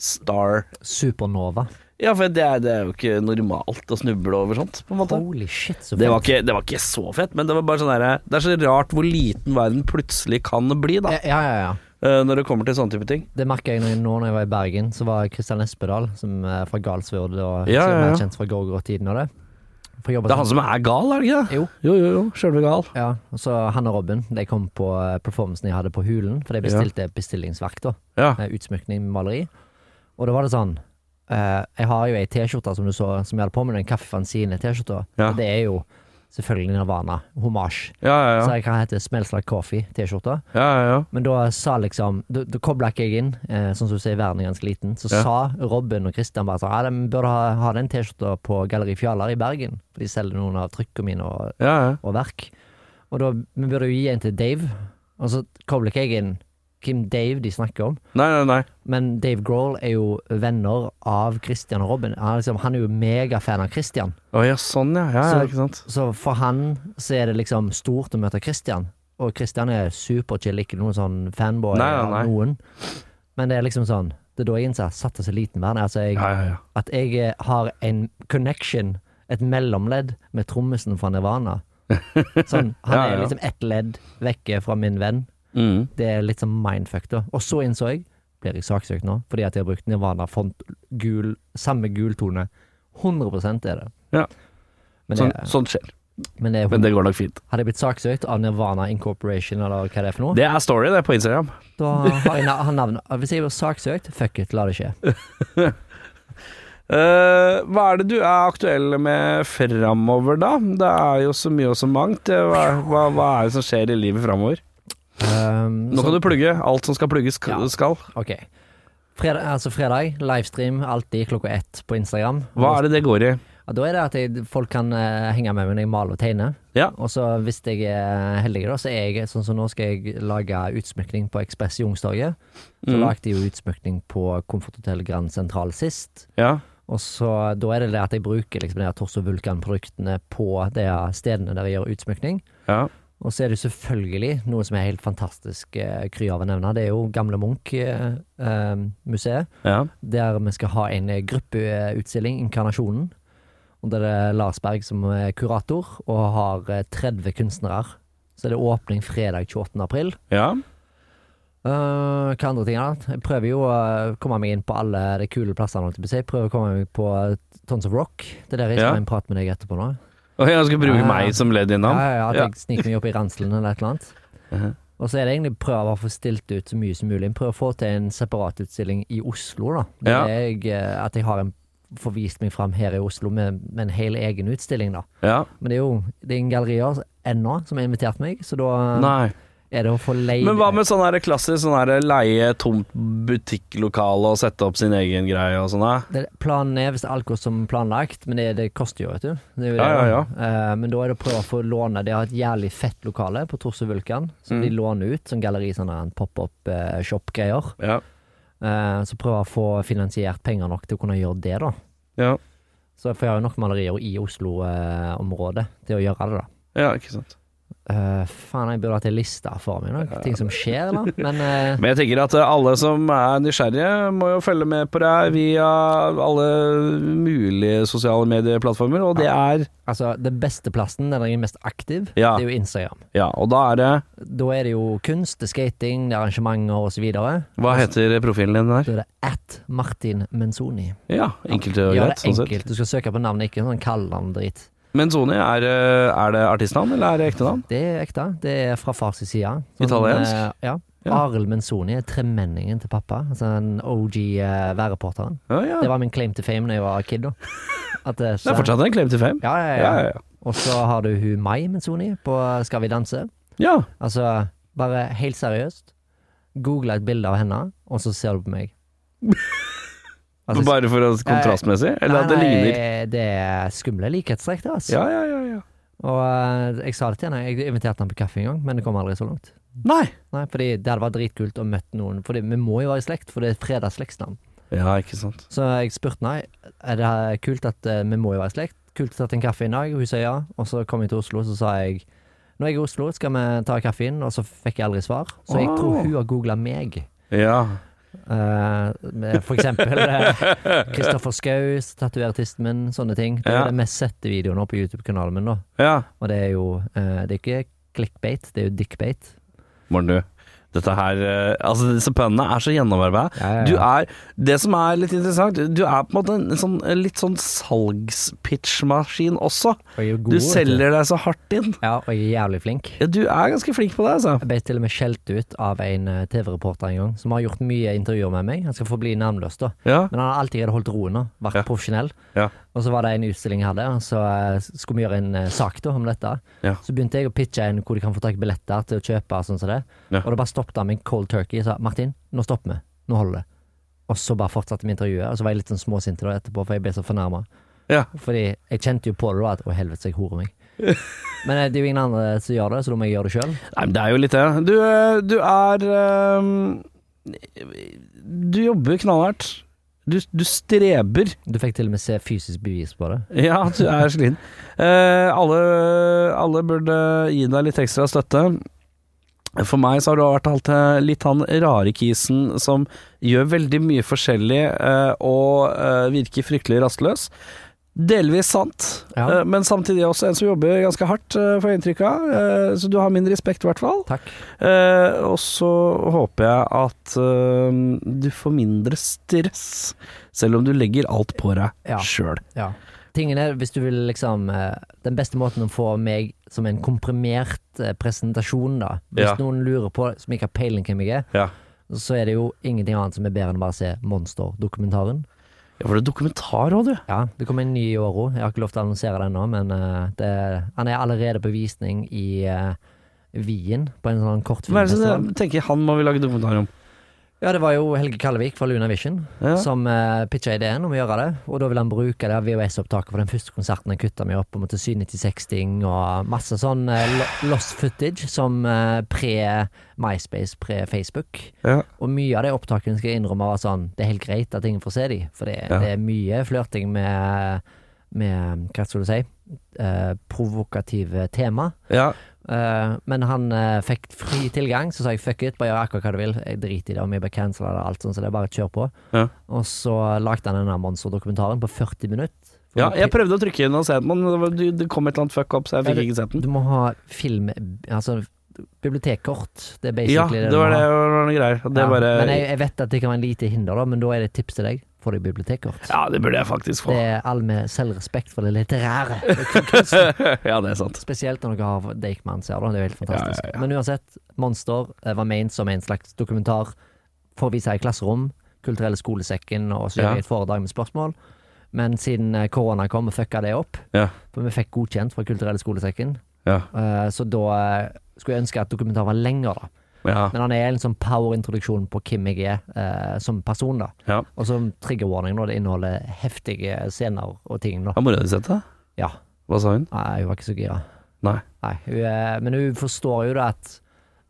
star Supernova. Ja, for det er, det er jo ikke normalt å snuble over sånt, på en måte. Holy shit, så Det var, fett. ikke, det var ikke så fett, men det var bare sånn derre Det er så rart hvor liten verden plutselig kan bli, da, Ja, ja, ja. ja. eh, når det kommer til sånne type ting. Det merka jeg når- nå når jeg var i Bergen. Så var Kristian Espedal som er fra Galsvord og Ja, som ja, ja. er kjent fra Gorgot-tiden og det. For jeg jobbet Det er han som er gal, er det ikke det? Jo. Jo, jo, jo. Sjølve gal. ja, og så han og Robin De kom på eh, performancen jeg hadde på Hulen, for de bestilte et bestillingsverk. da Ja. eh, Utsmykning med maleri. Og da var det sånn eh, Jeg har jo ei T-skjorte som du så Som jeg hadde på meg, den kaffefanzine-T-skjorta. Ja. Og det er jo selvfølgelig Nirvana. Hommage. Ja, ja, Så ja. jeg kan hete Smells Like Coffee-T-skjorta. ja, ja, ja. Men da sa liksom Da, da kobla ikke jeg inn, eh, sånn som du sier, verden er ganske liten. Så Ja. sa Robin og Christian bare sånn Ja, de bør ha, ha den T-skjorta på Galleri Fjalar i Bergen, for de selger noen av trykkene mine og, ja, ja. og verk. Og da Vi burde jo gi en til Dave, og så kobler ikke jeg inn hvem Dave de snakker om. Nei, nei, nei. Men Dave Grohl er jo venner av Christian og Robin. Han er, liksom, han er jo megafan av Christian. Å ja, sånn ja. Ja, Så- ja, ikke sant. Så for han så er det liksom stort å møte Christian. Og Christian er superchill, ikke noen sånn fanboy Nei, nei, av nei. noen. Men det er liksom sånn Det er da jeg innser satt så liten verden. Altså jeg, Ja, ja, ja. At jeg eh, har en connection, et mellomledd, med trommisen fra Nirvana. Sånn, han Ja, ja, er ja. liksom ett ledd vekke fra min venn. Mm. Det er litt sånn mindfuck, da. Og så innså jeg blir jeg saksøkt nå, fordi at jeg har brukt Nirvana font gul, samme gul tone. 100 er det. Ja. Men, Sånn, det, sånt skjer. men, det, Men det går nok fint. hadde jeg blitt saksøkt av Nirvana Incorporation eller hva det er for noe, Det er story, det, på Instagram. da har jeg na- har navnet Hvis jeg blir saksøkt, fuck it, la det skje. Eh, hva er det du er aktuell med framover, da? Det er jo så mye og så mangt. Eh, Hva, hva, hva er det som skjer i livet framover? Um, Nå så- kan du plugge alt som skal plugges Ja. sk- skal. Ok. Fredag, altså fredag, livestream alltid klokka ett på Instagram. Hva er det det går i? Ja, Da er det at jeg, folk kan eh, henge med meg når jeg maler og tegner. Ja. Og så hvis jeg er heldig, da, så er jeg sånn som nå skal jeg lage utsmykning på Ekspress Youngstorget. Så Mm. lagde jeg jo utsmykning på Komforthotell Grand Sentral sist. Ja. Og så da er det det at jeg bruker liksom de her Torso Vulkan-produktene på de her stedene der jeg gjør utsmykning. ja. Og så er det jo selvfølgelig noe som er helt fantastisk eh, kry av å nevne. Det er jo Gamle Munch-museet ja. der vi skal ha en eh, gruppeutstilling, Inkarnasjonen. Og der det er Lars Berg som er kurator, og har eh, 30 kunstnere. Så er det åpning fredag 28. april. ja. Eh, hva andre ting er det? Jeg prøver jo å komme meg inn på alle de kule plassene. holdt jeg på å si. Jeg prøver å komme meg på Tons of Rock. Det er der jeg Ja. skal ha en prat med deg etterpå nå. Og jeg skal bruke Ja. meg som ledd Ja, innom? ja, ja, At Ja. jeg sniker meg opp i ranselen eller et eller annet. Mhm. Og så er det egentlig prøve å få stilt ut så mye som mulig. Prøve å få til en separatutstilling i Oslo, da. Det Ja. er jeg, eh, at jeg har en, får vist meg fram her i Oslo med, med en hel egen utstilling, da. Ja. Men det er jo det er ingen gallerier ennå som har invitert meg, så da Nei. er det å få leid Men hva med sånn her klassisk sånn her leie tomt butikklokale og sette opp sin egen greie og sånn? da? det, Planen er hvis alt går som planlagt, men det, det koster jo, vet du. Det er jo det, Ja, ja, ja. da. Eh, men da er det å prøve å få låne De har et jævlig fett lokale på Torso Vulkan, som Mm. de låner ut som galleri, sånn her en pop up eh, shop-greier. Ja. Eh, så prøve å få finansiert penger nok til å kunne gjøre det, da. Ja. Så for jeg har jo nok malerier i Oslo-området til å gjøre det, da. ja, ikke sant. Eh, faen, jeg burde hatt ei liste for meg, nok. ting som skjer, da. Men eh, Men jeg tenker at eh, alle som er nysgjerrige, må jo følge med på deg via alle mulige sosiale medieplattformer, og det er altså, den beste plassen, den jeg er mest aktiv, Ja. det er jo Instagram. Ja, og da er det Da er det jo kunst, det er skating, det er arrangementer osv. Da Hva heter profilen din der? er det at Martin Menzoni. Ja, enkelt og Gjør greit. det Sånn sett. enkelt. Du skal søke på navnet, ikke sånn kallenavn-drit. Men Sony, er, eh, er det artistnavn, eller er det ekte navn? Det er ekte. Det er fra fars side. Italiensk? eh, ja. Ja. Arild Menzoni er tremenningen til pappa. Altså den OG eh, værreporteren. Ja, ja. Det Det, var min claim to fame da jeg var kid. da. At, eh, så- er fortsatt en claim til fame. Ja, ja, Ja, ja. ja, ja. Og så har du hun Mai Menzoni på Skal vi danse. ja. Altså, bare helt seriøst. Google et bilde av henne, og så ser du på meg. Altså, Bare for å kontrastmessig? Eller at det nei, ligner? Det er skumle likhetstrekk, det. Altså. Ja, ja, ja. ja. Og eh, jeg sa det til henne, jeg inviterte henne på kaffe en gang, men det kom aldri så langt. Nei. Nei, fordi det hadde vært dritkult å møte noen, Fordi vi må jo være i slekt, for det er fredagsslektsnavn. Ja, ikke sant. Så jeg spurte nei, er det her kult at eh, vi må jo være i slekt? Kult å ta en kaffe i dag? Og hun sa ja, og så kom jeg til Oslo, så sa jeg når jeg er i Oslo, skal vi ta kaffe inn, og så fikk jeg aldri svar. Så jeg tror Ah. hun har googla meg. Ja. Eh, med for eksempel eh, Kristoffer Schou, tatoverartisten min, sånne ting. Det er Ja. jo den mest sette videoen nå på YouTube-kanalen min, da. ja. Og det er jo eh, Det er ikke clickbait, det er jo dickbait. Morten, du. Dette her eh, Altså, disse pønnene er så gjennomarbeida. Ja, ja, ja. Du er Det som er litt interessant, du er på en måte en sånn, en litt sånn salgspitchmaskin også. Og jeg er jo god, Du vet selger deg så hardt inn. Ja, og jeg er jævlig flink. Ja, du er ganske flink på det, altså. Jeg ble til og med skjelt ut av en eh, TV-reporter en gang, som har gjort mye intervjuer med meg. Han skal forbli navnløs, da. Ja. Men han har alltid holdt roen og vært Ja. profesjonell. Ja. Og så var det en utstilling jeg hadde, og så eh, skulle vi gjøre en eh, sak da om dette. Ja. Så begynte jeg å pitche en hvor de kan få tak i billetter til å kjøpe. og Sånn som det. Ja. Og da bare stoppet han med en cold turkey og sa Martin, nå stopper vi. Nå holder det. Og så bare fortsatte vi intervjuet, og så var jeg litt sånn småsint da etterpå, for jeg ble så fornærma. Ja. Fordi jeg kjente jo på det da at å helvete, så jeg horer meg. Men eh, det er jo ingen andre som gjør det, så da må jeg gjøre det sjøl. Nei, men det er jo litt det. Du, eh, du er eh, Du jobber knallhardt. Du, du streber. Du fikk til og med se fysisk bevis på det. Ja, du er sliten. Eh, alle, alle burde gi deg litt ekstra støtte. For meg så har du vært alt, eh, litt han rare kisen som gjør veldig mye forskjellig eh, og eh, virker fryktelig rastløs. Delvis sant, Ja. eh, men samtidig også en som jobber ganske hardt, eh, får jeg inntrykk av. Eh, Så du har min respekt, i hvert fall. Takk. Eh, og så håper jeg at eh, du får mindre stress, selv om du legger alt på deg Ja. sjøl. Ja. Tingen er, hvis du vil liksom eh, Den beste måten å få meg som en komprimert eh, presentasjon, da Hvis Ja. noen lurer på, som ikke har peiling hvem jeg er, Ja. så er det jo ingenting annet som er bedre enn å bare se Monster-dokumentaren. Ja, var det dokumentar òg, du? Ja, det kommer en ny i år òg. Jeg har ikke lov til å annonsere den nå, men eh, det, han er allerede på visning i eh, Wien, på en sånn Hva er det som kortfilmfestival. tenker jeg han må vi lage dokumentar om? Ja, det var jo Helge Kallevik fra Luna Vision Ja. som uh, pitcha ideen om å gjøre det. Og da ville han bruke det VHS-opptaket fra den første konserten han kutta meg opp, og måtte sy 96-ting og masse sånn eh, lo- lost footage som eh, pre-MySpace, pre-Facebook. Ja. Og mye av de opptakene skal jeg innrømme var sånn Det er helt greit at ingen får se de For det, Ja. det er mye flørting med, med Hva skal du si? Eh, provokative tema ja. Eh, Men han eh, fikk fri tilgang Så sa jeg fuck it, bare gjør akkurat hva du vil Jeg driter i det om jeg blir cancela eller alt sånt Så det er bare kjør på Ja. Og så lagde han denne monsterdokumentaren på 40 minutter Ja, jeg prøvde å trykke inn og se den, men det var- du- det kom et eller annet fuck up, så jeg Ja, fikk ikke sett den. Du må ha film Altså bibliotekkort Det er Ja, basically det det du var må det ha. var noen greier. og Det Ja, bare Men jeg, jeg vet at det kan være en lite hinder da Men da er det et tips til deg Få deg bibliotekkort Ja, det burde jeg faktisk få. Det er all med selvrespekt for det litterære. ja, det er sant. Spesielt når dere har Deichman ser det. Det er jo helt fantastisk. Ja, ja, ja. Men uansett, Monster eh, var ment som en slags dokumentar for å vise i klasserom, kulturelle skolesekken, og så gjør Ja. jeg et foredrag med spørsmål. Men siden eh, korona kom, fucka det opp. Ja. For vi fikk godkjent fra kulturelle skolesekken. Ja. Eh, Så da eh, skulle jeg ønske at dokumentaren var lenger, da. Ja. Men han er en sånn power-introduksjon på hvem jeg er eh, som person, da. Ja. Og som trigger warning, da. Det inneholder heftige scener og ting, da. Har mora di sett det? Ja. Hva sa hun? Nei, hun var ikke så gira. Nei. Nei, hun, er- men hun forstår jo da at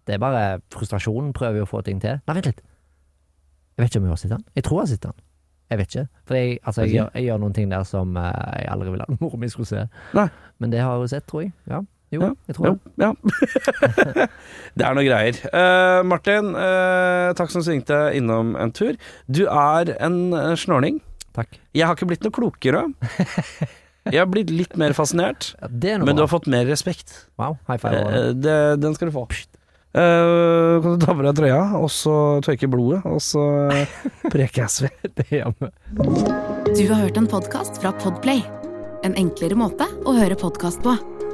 det er bare frustrasjonen prøver jo å få ting til. Nei, vent litt. Jeg vet ikke om hun har sett den. Jeg tror jeg har sett den. Jeg vet ikke. For jeg, altså, jeg, gjør, jeg gjør noen ting der som eh, jeg aldri ville at mora mi skulle se. Nei. Men det har hun sett, tror jeg. Ja. Jo, Ja. jeg tror Jo, det. ja. det er noe greier. Eh, Martin, eh, takk som svingte innom en tur. Du er en eh, snåling. Takk. Jeg har ikke blitt noe klokere. Jeg har blitt litt mer fascinert, Ja, det er noe men du bra. har fått mer respekt. Wow, high five. Eh, det, den skal du få. Pst. Eh, kan du ta på deg trøya, og så tørke blodet, og så eh, prekes vi. det gjør vi. Du har hørt en podkast fra Podplay. En enklere måte å høre podkast på.